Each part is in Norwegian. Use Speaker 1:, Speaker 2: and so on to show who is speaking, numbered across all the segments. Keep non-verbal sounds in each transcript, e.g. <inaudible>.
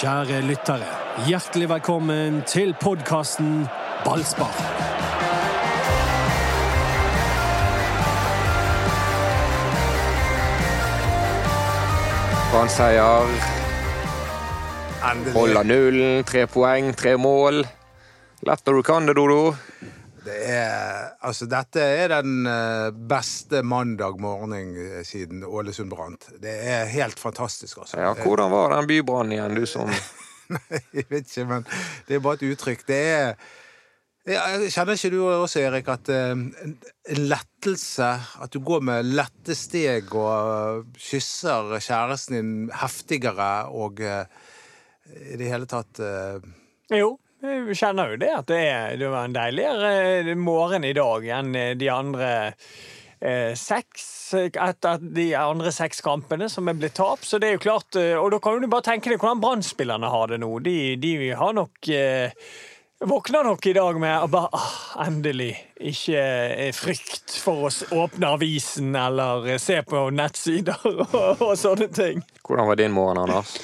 Speaker 1: Kjære lyttere, hjertelig velkommen til podkasten Ballspar.
Speaker 2: Brann seier,
Speaker 3: Endelig.
Speaker 2: holder nullen, tre poeng, tre mål. Lett når du kan det, Dodo.
Speaker 3: Det er, altså, dette er den eh, beste mandag morgen eh, siden Ålesund brant. Det er helt fantastisk, altså.
Speaker 2: Ja, hvordan var den bybrannen igjen, du som
Speaker 3: Nei, <laughs> jeg vet ikke, men det er bare et uttrykk. Det er ja, Kjenner ikke du også, Erik, at eh, en en lettelse At du går med lette steg og eh, kysser kjæresten din heftigere og eh, i det hele tatt eh,
Speaker 4: Jo, jeg kjenner jo det at det, er, det var en deiligere eh, morgen i dag enn de andre eh, seks etter de andre seks kampene som er blitt tap. Så det er jo klart, eh, og da kan du bare tenke deg hvordan Brann-spillerne har det nå. De, de har nok eh, Våkner nok i dag med å bare ah, endelig ikke eh, frykt for å s- åpne avisen eller eh, se på nettsider <laughs> og, og sånne ting.
Speaker 2: Hvordan var din morgen, Anders?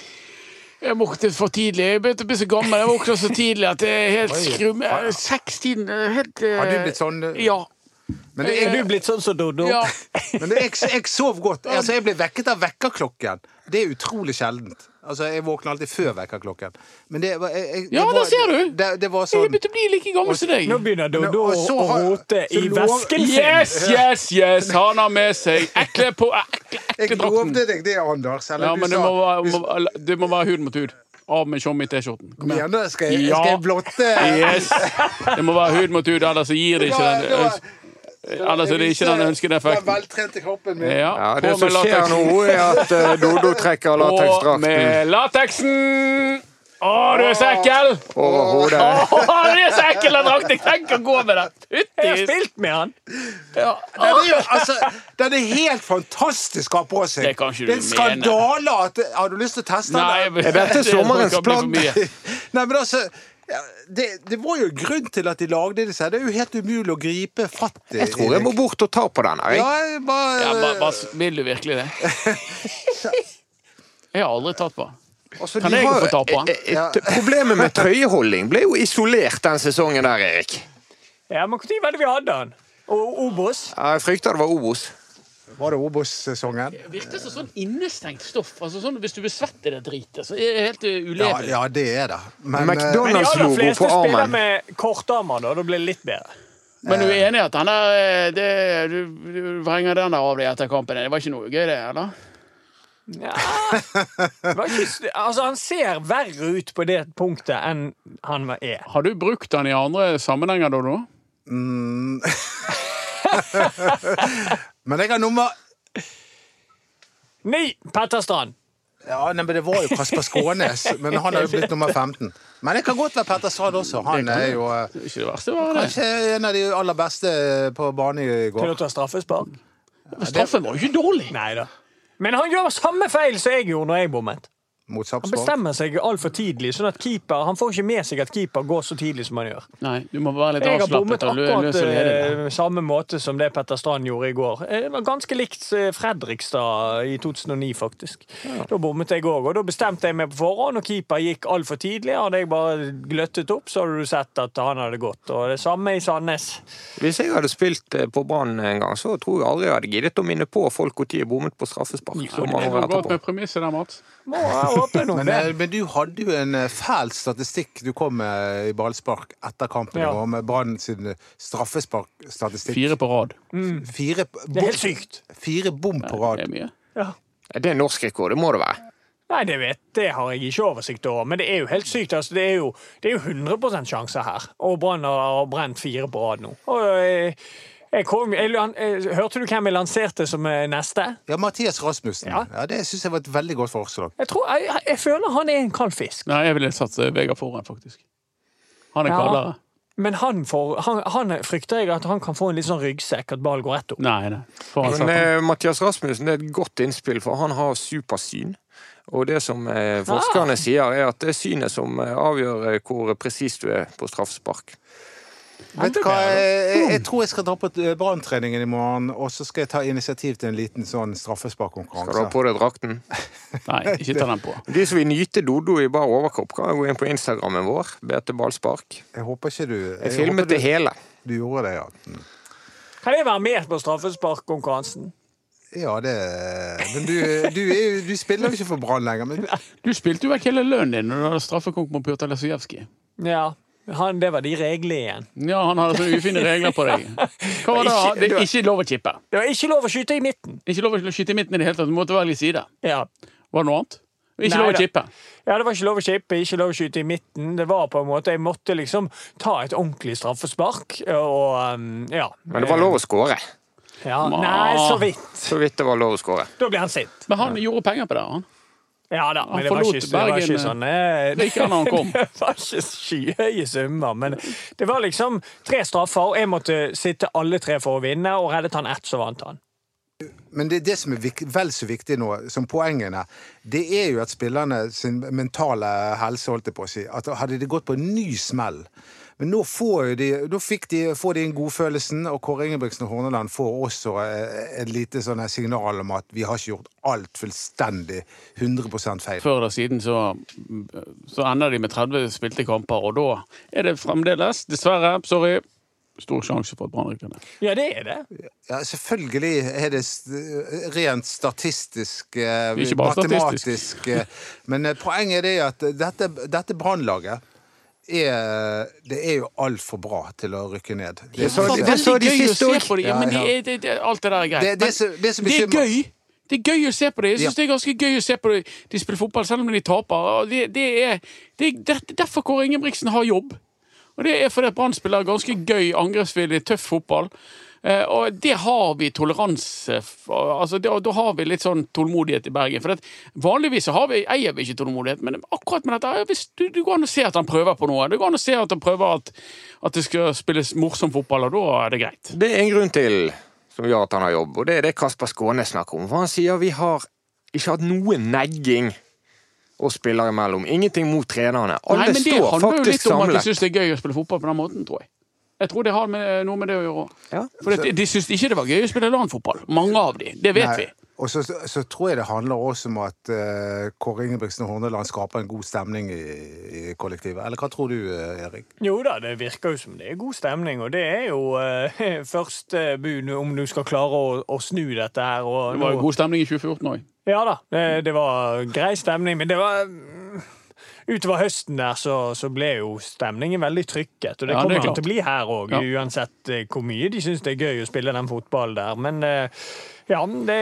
Speaker 5: Jeg våknet for tidlig. Jeg begynte å bli så gammel. Jeg våkna så tidlig at det er helt
Speaker 3: Oi.
Speaker 5: skrum... Sekstiden er helt eh,
Speaker 3: Har du blitt sånn?
Speaker 5: Ja.
Speaker 3: Men det
Speaker 4: Er
Speaker 3: er,
Speaker 4: du blitt sånn som Doddo?
Speaker 5: ja.
Speaker 3: Men det, jeg, jeg sov godt. Altså, jeg ble vekket av vekkerklokken. Det er utrolig sjeldent. Altså, Jeg våkner alltid før vekkerklokken. Men det var jeg, jeg, det
Speaker 5: Ja,
Speaker 3: var-
Speaker 5: der ser du!
Speaker 3: Det, det var
Speaker 5: Jeg
Speaker 3: sånn
Speaker 5: begynte å bli like gammel som deg.
Speaker 4: Nå begynner Doddo
Speaker 3: og
Speaker 4: å
Speaker 3: så
Speaker 4: å
Speaker 3: har-
Speaker 4: rote
Speaker 3: så
Speaker 4: i
Speaker 3: lov-
Speaker 4: vesken sin.
Speaker 5: Yes, yes, yes! Han har med seg ekle på ekle,
Speaker 3: Jeg
Speaker 5: ekle drakten.
Speaker 3: lovte deg det, Anders. Eller
Speaker 5: Ja,
Speaker 3: du
Speaker 5: men det
Speaker 3: sa
Speaker 5: må, være, må, være- det må være hud mot hud. Av med tjommi i T-skjorten. Kom igjen.
Speaker 3: mener, skal, jeg, skal jeg blotte
Speaker 5: Yes! Det må være hud mot hud, ellers så gir det
Speaker 3: Nå-
Speaker 5: ikke
Speaker 3: nå-
Speaker 5: den Ellers er det ikke den ønskede
Speaker 3: Den
Speaker 5: effekten.
Speaker 3: veltrente kroppen min.
Speaker 5: Ja,
Speaker 2: Ja,
Speaker 5: på
Speaker 2: Det som
Speaker 5: med
Speaker 2: skjer
Speaker 5: latex.
Speaker 2: nå, er at eh, Dodo trekker
Speaker 5: På
Speaker 2: lateksdrakten
Speaker 5: med lateksen! Å, du er så ekkel!
Speaker 2: over hodet.
Speaker 5: Å, det er så ekkel den drakten! Jeg tenker å gå med den.
Speaker 4: Jeg har
Speaker 5: Fytti
Speaker 4: spilt med han!
Speaker 3: Den er, jo, altså, den er helt fantastisk å ha på seg.
Speaker 5: Det kan ikke du
Speaker 3: Det er en skandale at Har du lyst til å teste den?
Speaker 5: Nei,
Speaker 2: Er dette sommerens plagg?
Speaker 3: <laughs> Nei, men altså ja, det, det var jo grunn til at de lagde disse. her. Det er jo helt umulig å gripe fatt i.
Speaker 2: Jeg tror jeg må bort og ta på den. her,
Speaker 3: ja,
Speaker 2: Jeg.
Speaker 3: jeg bare,
Speaker 5: Ja, hva, hva, vil du virkelig det?
Speaker 4: <laughs>
Speaker 5: Jeg har aldri tatt på den.
Speaker 2: Altså,
Speaker 5: Kan
Speaker 2: de
Speaker 5: jeg
Speaker 2: har-
Speaker 5: få ta på den?
Speaker 2: eh, eh, Problemet med trøyeholding ble jo isolert den sesongen der, Erik.
Speaker 4: Ja, men Når var det vi hadde han? Og Obos?
Speaker 2: Ja, Jeg frykter det var Obos.
Speaker 3: Var det Obos-sesongen?
Speaker 4: eh,
Speaker 5: Virker som sånn innestengt stoff. Altså sånn, Hvis du besvetter det dritet, så er det helt uh,
Speaker 3: Ja,
Speaker 5: ulevelig.
Speaker 3: ja, det er det.
Speaker 2: McDonald's-
Speaker 3: Men, eh,
Speaker 4: Men de aller
Speaker 2: Logo
Speaker 4: fleste
Speaker 2: på armen.
Speaker 4: spiller med kortarmer, da. Da blir det litt bedre.
Speaker 5: Men du er enig i at den der eh, det, du, du vrenger den der av deg etter kampen? Det var ikke noe gøy, det? eller?
Speaker 4: Ja. Det var ikke s- Altså, han ser verre ut på det punktet enn han var- er.
Speaker 5: Har du brukt den i andre sammenhenger, Dodo?
Speaker 3: men jeg har nummer
Speaker 4: Ni Petter Strand.
Speaker 3: Ja, nei, men Det var jo Kasper Skånes, men han har jo blitt nummer 15. Men det kan godt være Petter Strand også. Han er jo eh,
Speaker 5: Det er ikke det verste, var det?
Speaker 3: kanskje en av de aller beste eh, på bane i
Speaker 4: Kunne
Speaker 3: går.
Speaker 4: du ta straffespark?
Speaker 5: Straffen var jo ikke dårlig.
Speaker 4: Nei da. Men han gjør samme feil som jeg gjorde når jeg bommet.
Speaker 3: Mot
Speaker 4: Han
Speaker 3: Sarpsborg.
Speaker 4: bestemmer seg altfor tidlig, sånn at keeper Han får ikke med seg at keeper går så tidlig som han gjør.
Speaker 5: Nei, du må være litt
Speaker 4: Jeg har bommet
Speaker 5: avslappet og lø-
Speaker 4: akkurat
Speaker 5: løs og ledig.
Speaker 4: eh, samme måte som det Petter Strand gjorde i går. Eh, Det var ganske likt eh, Fredrikstad i 2009, faktisk. Da bommet jeg òg, og da bestemte jeg meg på forhånd. Og keeper gikk altfor tidlig. Hadde jeg bare gløttet opp, så hadde du sett at han hadde gått. Og det samme i Sandnes.
Speaker 2: Hvis jeg hadde spilt eh, på Brann en gang, så tror jeg aldri jeg hadde giddet å minne på folk når de bommet på straffespark.
Speaker 5: Ja,
Speaker 2: så
Speaker 5: det
Speaker 2: mange
Speaker 5: er
Speaker 2: år
Speaker 5: noe godt
Speaker 2: etterpå.
Speaker 5: med premisset der, Mats.
Speaker 4: Må jeg håpe noe
Speaker 3: <laughs> Men,
Speaker 4: det.
Speaker 3: eh, men du hadde jo en eh, fæl statistikk du kom med i ballspark etter kampen i
Speaker 4: Ja.
Speaker 3: går, med Brann sin eh, straffesparkstatistikk.
Speaker 5: Fire på rad.
Speaker 3: Fire,
Speaker 4: Det er helt sykt.
Speaker 3: fire bom på
Speaker 5: Det
Speaker 3: rad.
Speaker 5: er mye.
Speaker 4: Ja.
Speaker 2: Er det norsk rekord? Det må det være.
Speaker 4: Nei, det vet Det har jeg ikke oversikt over, men det er jo helt sykt. Altså, det, er jo, det er jo 100 sjanse her, og Brann har brent fire på rad nå. Og jeg, jeg kom, jeg, lan- eh, hørte du hvem jeg lanserte som eh, neste?
Speaker 3: Ja, Mathias Rasmussen.
Speaker 4: Ja.
Speaker 3: Ja. det syns jeg var et veldig godt forslag.
Speaker 4: Jeg, tror, jeg, jeg- jeg føler han er en kald fisk,
Speaker 5: Nei, jeg ville satt eh, Vegard foran, faktisk. Han er
Speaker 4: Ja.
Speaker 5: kaldere.
Speaker 4: men han, får, han, han frykter jeg at han kan få en litt sånn ryggsekk, at ballen går rett opp.
Speaker 5: Nei, nei. Foran
Speaker 2: Men
Speaker 5: satt han.
Speaker 2: eh, Mathias Rasmussen det er et godt innspill, for han har supersyn. Og det som eh, forskerne sier, er at det er synet som eh, avgjør eh, hvor presist du er på straffespark.
Speaker 3: Vet du hva, eh, jeg, jeg tror jeg skal dra på eh, Branntreningen i morgen, og så skal jeg ta initiativ til en liten sånn
Speaker 2: Skal du ha
Speaker 3: straffesparkkonkurranse.
Speaker 2: på deg drakten?
Speaker 5: Nei, ikke ta den på.
Speaker 2: De som vil nyte Dodo i bar overkropp, kan gå inn på Instagrammen vår. Bete Ballspark.
Speaker 3: Jeg håper ikke du
Speaker 2: Jeg
Speaker 3: håper
Speaker 2: filmet det
Speaker 3: du,
Speaker 2: hele.
Speaker 3: du gjorde det, ja.
Speaker 4: Kan jeg være med på straffesparkkonkurransen?
Speaker 3: Ja, det Men du, du, er jo- du spiller jo ikke for Brann lenger. Men
Speaker 5: Du spilte jo vekk hele lønnen din når du hadde straffekonk mot Pjotr Lesujevskij.
Speaker 4: Ja. Han, det var de reglene igjen.
Speaker 5: Ja, han hadde sånne ufine regler på deg. Hva var det?
Speaker 4: Ikke-
Speaker 5: Det er ikke lov å chippe.
Speaker 4: Det var ikke lov å skyte i midten.
Speaker 5: Ikke lov å skyte i midten i det hele tatt. Du måtte velge side.
Speaker 4: Ja.
Speaker 5: Var det noe annet? Ikke
Speaker 4: Nei
Speaker 5: lov å
Speaker 4: da.
Speaker 5: chippe.
Speaker 4: ja, det var ikke lov å chippe, ikke lov å skyte i midten. Det var på en måte Jeg måtte liksom ta et ordentlig straffespark, og um, ja.
Speaker 2: Men det var lov å skåre.
Speaker 4: Ja. Nei, så vidt.
Speaker 2: Så vidt det var lov å skåre.
Speaker 4: Da ble han sint.
Speaker 5: Men han gjorde penger på det. han.
Speaker 4: Ja da, men det var
Speaker 5: forlot
Speaker 4: ikke, det var ikke
Speaker 5: Bergen,
Speaker 4: sånn eh,
Speaker 5: Det gikk han når han kom.
Speaker 4: <laughs> Det var ikke skyhøye summer, men det var liksom tre straffer, og jeg måtte sitte alle tre for å vinne, og reddet han ett, så vant han.
Speaker 3: Men det, det som er vik- vel så viktig nå, som poengene, det er jo at spillerne sin mentale helse, holdt jeg på å si, at hadde de gått på en ny smell men nå får jo de, da fikk de, får de en godfølelsen, og Kåre Ingebrigtsen og Horneland får også eh, et lite sånn her signal om at vi har ikke gjort alt fullstendig 100 feil.
Speaker 5: Før eller siden så, så ender de med 30 spilte kamper, og da er det fremdeles, dessverre, sorry, stor sjanse for at Brann rykker ned.
Speaker 4: Ja, det er det.
Speaker 3: Ja, selvfølgelig er det st- rent statistisk, eh,
Speaker 5: Ikke bare
Speaker 3: matematisk
Speaker 5: statistisk.
Speaker 3: eh, Men eh, poenget er det at dette, dette brannlaget er, det er jo altfor bra til å rykke ned. Det,
Speaker 2: så-
Speaker 3: sånn
Speaker 5: Faen,
Speaker 2: det så
Speaker 5: veldig
Speaker 2: de
Speaker 5: gøy å
Speaker 2: siste
Speaker 5: se
Speaker 2: også.
Speaker 5: på det. Ja, men
Speaker 3: Ja,
Speaker 5: de,
Speaker 3: ja.
Speaker 5: er- det, det, alt det der er greit.
Speaker 3: Det- det
Speaker 5: Men
Speaker 3: som- det som
Speaker 5: det er
Speaker 3: bekymrer-
Speaker 5: gøy! Det er gøy å se på det. Jeg synes
Speaker 3: Ja.
Speaker 5: det er ganske gøy å se på det. De spiller fotball selv om de taper. Og Det, det er det, er der- derfor Kåre Ingebrigtsen har jobb. Og det er fordi at Brann spiller ganske gøy, angrepsvillig, tøff fotball. Eh, og det har vi toleranse for. altså det, og Da har vi litt sånn tålmodighet i Bergen. For at vanligvis så har vi, eier vi ikke tålmodighet, men akkurat med dette her, hvis du, du går an å se at han prøver på noe. Det går an å se at han prøver at, at det skal spilles morsom fotball, og da er det greit.
Speaker 2: Det er en grunn til som gjør at han har jobb, og det er det Kasper Skåne snakker om. For han sier vi har ikke hatt noe negging oss spillere imellom. Ingenting mot trenerne. Alle
Speaker 5: Nei, men det
Speaker 2: står
Speaker 5: handler jo
Speaker 2: faktisk
Speaker 5: litt om at de
Speaker 2: samlet.
Speaker 5: syns det er gøy å spille fotball på den måten, tror jeg. Jeg tror det har med, noe med det å gjøre òg.
Speaker 2: Ja.
Speaker 5: For det, de syns ikke det var gøy å spille LAN-fotball. Mange av de, det vet
Speaker 3: Nei,
Speaker 5: vi.
Speaker 3: Og så, så tror jeg det handler også om at eh, Kåre Ingebrigtsen og Horneland skaper en god stemning i, i kollektivet. Eller hva tror du, eh, Erik?
Speaker 4: Jo da, det virker jo som det er god stemning, og det er jo eh, <laughs> første bud om du skal klare å, å snu dette her. Og
Speaker 5: Det var jo
Speaker 4: nå-
Speaker 5: god stemning i 2014 òg.
Speaker 4: Ja da, det, det var grei stemning, men det var mm, Utover høsten der så, så ble jo stemningen veldig trykket, og det
Speaker 5: Ja, det
Speaker 4: kommer
Speaker 5: er
Speaker 4: han
Speaker 5: klart.
Speaker 4: til å bli her òg,
Speaker 5: Ja.
Speaker 4: uansett eh, hvor mye de syns det er gøy å spille den fotballen der. Men eh, ja, det,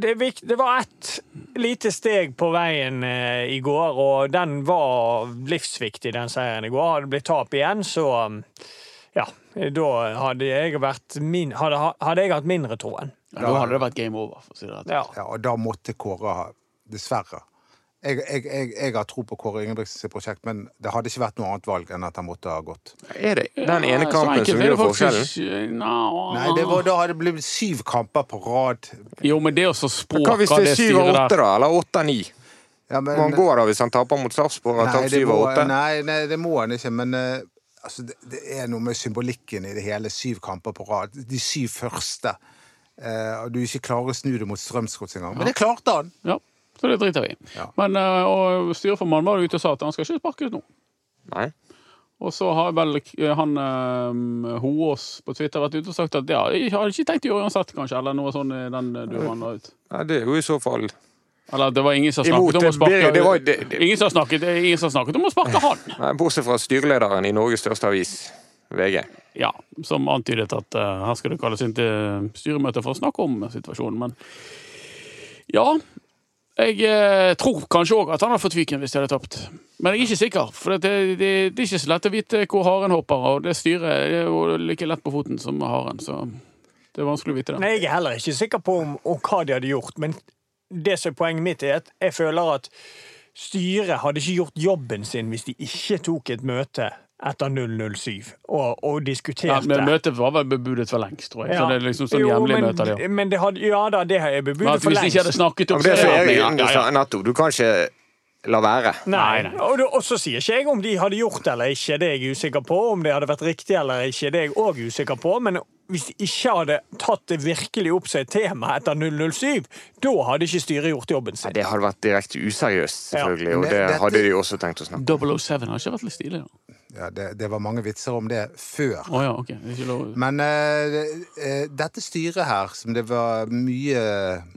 Speaker 4: det, er vikt- det var ett lite steg på veien eh, i går, og den var livsviktig, den seieren i går. Hadde det blitt tap igjen, så um, ja, da hadde jeg, vært min, hadde, hadde jeg hatt mindre troen.
Speaker 5: Da hadde det vært game over. For å si det. rett.
Speaker 4: Ja.
Speaker 3: Ja, og da måtte Kåre ha Dessverre. Jeg, jeg, jeg, jeg har tro på Kåre Ingebrigtsens prosjekt, men det hadde ikke vært noe annet valg enn at han måtte ha gått.
Speaker 2: Er det den
Speaker 5: Ja,
Speaker 2: ene
Speaker 5: så
Speaker 2: kampen
Speaker 5: enkelt
Speaker 2: som
Speaker 5: er det
Speaker 2: gjør
Speaker 5: faktisk
Speaker 2: forskjellen?
Speaker 5: ikke. Nå.
Speaker 3: Nei, det var, da hadde det blitt syv kamper på rad.
Speaker 5: Jo, men det å så språke
Speaker 2: Hva hvis det er syv av
Speaker 5: styret
Speaker 2: åtte,
Speaker 5: der
Speaker 2: da? Eller åtte av ni?
Speaker 3: Ja, men-
Speaker 2: Må han gå da hvis han taper mot Sarpsborg? og har
Speaker 3: Nei,
Speaker 2: tapt
Speaker 3: det
Speaker 2: syv
Speaker 3: må,
Speaker 2: av åtte?
Speaker 3: nei, nei, det må han ikke, men eh, altså, det, det er noe med symbolikken i det hele. Syv kamper på rad. De syv første. Eh, og du ikke klarer å snu det mot Strømsgods engang. Men det klarte han!
Speaker 5: Ja, så det driter vi i.
Speaker 3: Ja.
Speaker 5: Men eh, og styreformannen var ute og sa at han skal ikke sparkes nå.
Speaker 2: Nei.
Speaker 5: Og så har vel eh, han eh, Hoås på Twitter vært ute og sagt at ja, jeg har ikke tenkt å gjøre uansett, kanskje, eller noe sånn i den eh, du la ut.
Speaker 2: Nei, det er jo i så fall
Speaker 5: Eller det var ingen som
Speaker 2: Imot,
Speaker 5: snakket om å
Speaker 2: det-
Speaker 5: sparke
Speaker 2: det var- det- det-
Speaker 5: Ingen som snakket, det er ingen som snakket om
Speaker 2: <laughs>
Speaker 5: å sparke han!
Speaker 2: Nei, Bortsett fra styrelederen i Norges største avis, VG.
Speaker 5: Ja, som antydet at eh, her skal det kalles inn til styremøte for å snakke om situasjonen, men Ja. Jeg eh, tror kanskje òg at han hadde fått Viken hvis de hadde tapt. Men jeg er ikke sikker, for det, det, det er ikke så lett å vite hvor haren hopper, og det styret det er jo like lett på foten som haren, så det er vanskelig å vite det.
Speaker 4: Nei, jeg er heller ikke sikker på om, om hva de hadde gjort, men det som er poenget mitt, er at jeg føler at styret hadde ikke gjort jobben sin hvis de ikke tok et møte etter 007 og, og
Speaker 5: Ja,
Speaker 4: diskuterte.
Speaker 5: men Møtet var vel bebudet for lengst, tror jeg.
Speaker 4: Ja.
Speaker 5: Så det er liksom sånn
Speaker 4: Jo,
Speaker 5: hjemlige
Speaker 4: men-
Speaker 5: møter, det òg.
Speaker 4: Men det hadde, ja da, det har jeg
Speaker 5: Men
Speaker 4: bebudet
Speaker 5: at
Speaker 4: for
Speaker 5: Hvis de ikke hadde
Speaker 4: lengst.
Speaker 5: snakket
Speaker 2: Ja,
Speaker 5: om
Speaker 2: men det som
Speaker 5: Ja,
Speaker 2: er
Speaker 5: ja, ja, ja.
Speaker 2: nettopp, Du kan ikke la være.
Speaker 4: Nei,
Speaker 5: Nei, nei.
Speaker 4: Og, det- og så sier ikke jeg om de hadde gjort det eller ikke, det er jeg usikker på. Om det hadde vært riktig eller ikke, det er jeg òg usikker på. Men hvis de ikke hadde tatt det virkelig opp seg temaet etter 007, da hadde ikke styret gjort jobben
Speaker 2: Nei,
Speaker 4: sin.
Speaker 2: Det hadde vært direkte useriøst, selvfølgelig, og
Speaker 3: Men
Speaker 2: det
Speaker 3: dette-
Speaker 2: hadde de jo også tenkt å
Speaker 5: <laughs>
Speaker 2: snakke om.
Speaker 5: 007 har ikke vært litt stilig, da.
Speaker 3: Ja, det, det var mange vitser om det før.
Speaker 5: Å ja, ok. Det er ikke lov.
Speaker 3: Men eh, eh, dette styret her, som det var mye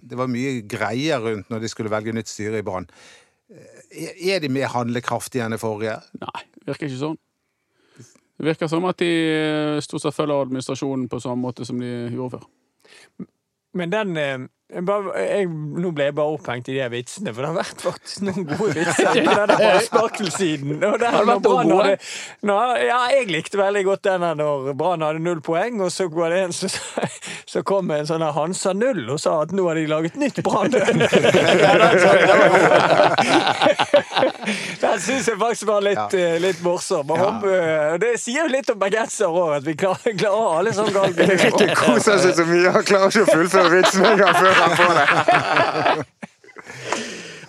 Speaker 3: Det var mye greier rundt når de skulle velge nytt styre i Brann. eh, Er de mer handlekraftige enn det forrige?
Speaker 5: Nei, virker ikke sånn. Det virker som at de eh, stort sett følger administrasjonen på samme måte som de gjorde før.
Speaker 4: Men den eh, jeg bare, jeg, Nå ble jeg bare opphengt i de vitsene, for det har vært faktisk noen gode vitser. på den der sparkelsiden. Og der,
Speaker 5: Har det vært
Speaker 4: når Brann
Speaker 5: noen gode?
Speaker 4: hadde- når- ja, jeg likte veldig godt den her når Brann hadde null poeng, og så, går det en, så, så kom en sånn her Hansa Null og sa at nå hadde de laget nytt Brann. <laughs> Ja, den så jeg, den var god. Den syns jeg faktisk var litt,
Speaker 3: Ja.
Speaker 4: eh, litt morsom. Og håper- og det sier jo litt om bergensere òg, at vi klarer, klarer alle sånne
Speaker 5: <laughs>
Speaker 4: ganger.
Speaker 2: Ikke koser seg så mye, han klarer ikke å fullføre vitsen en gang før han får
Speaker 5: <laughs>
Speaker 2: det.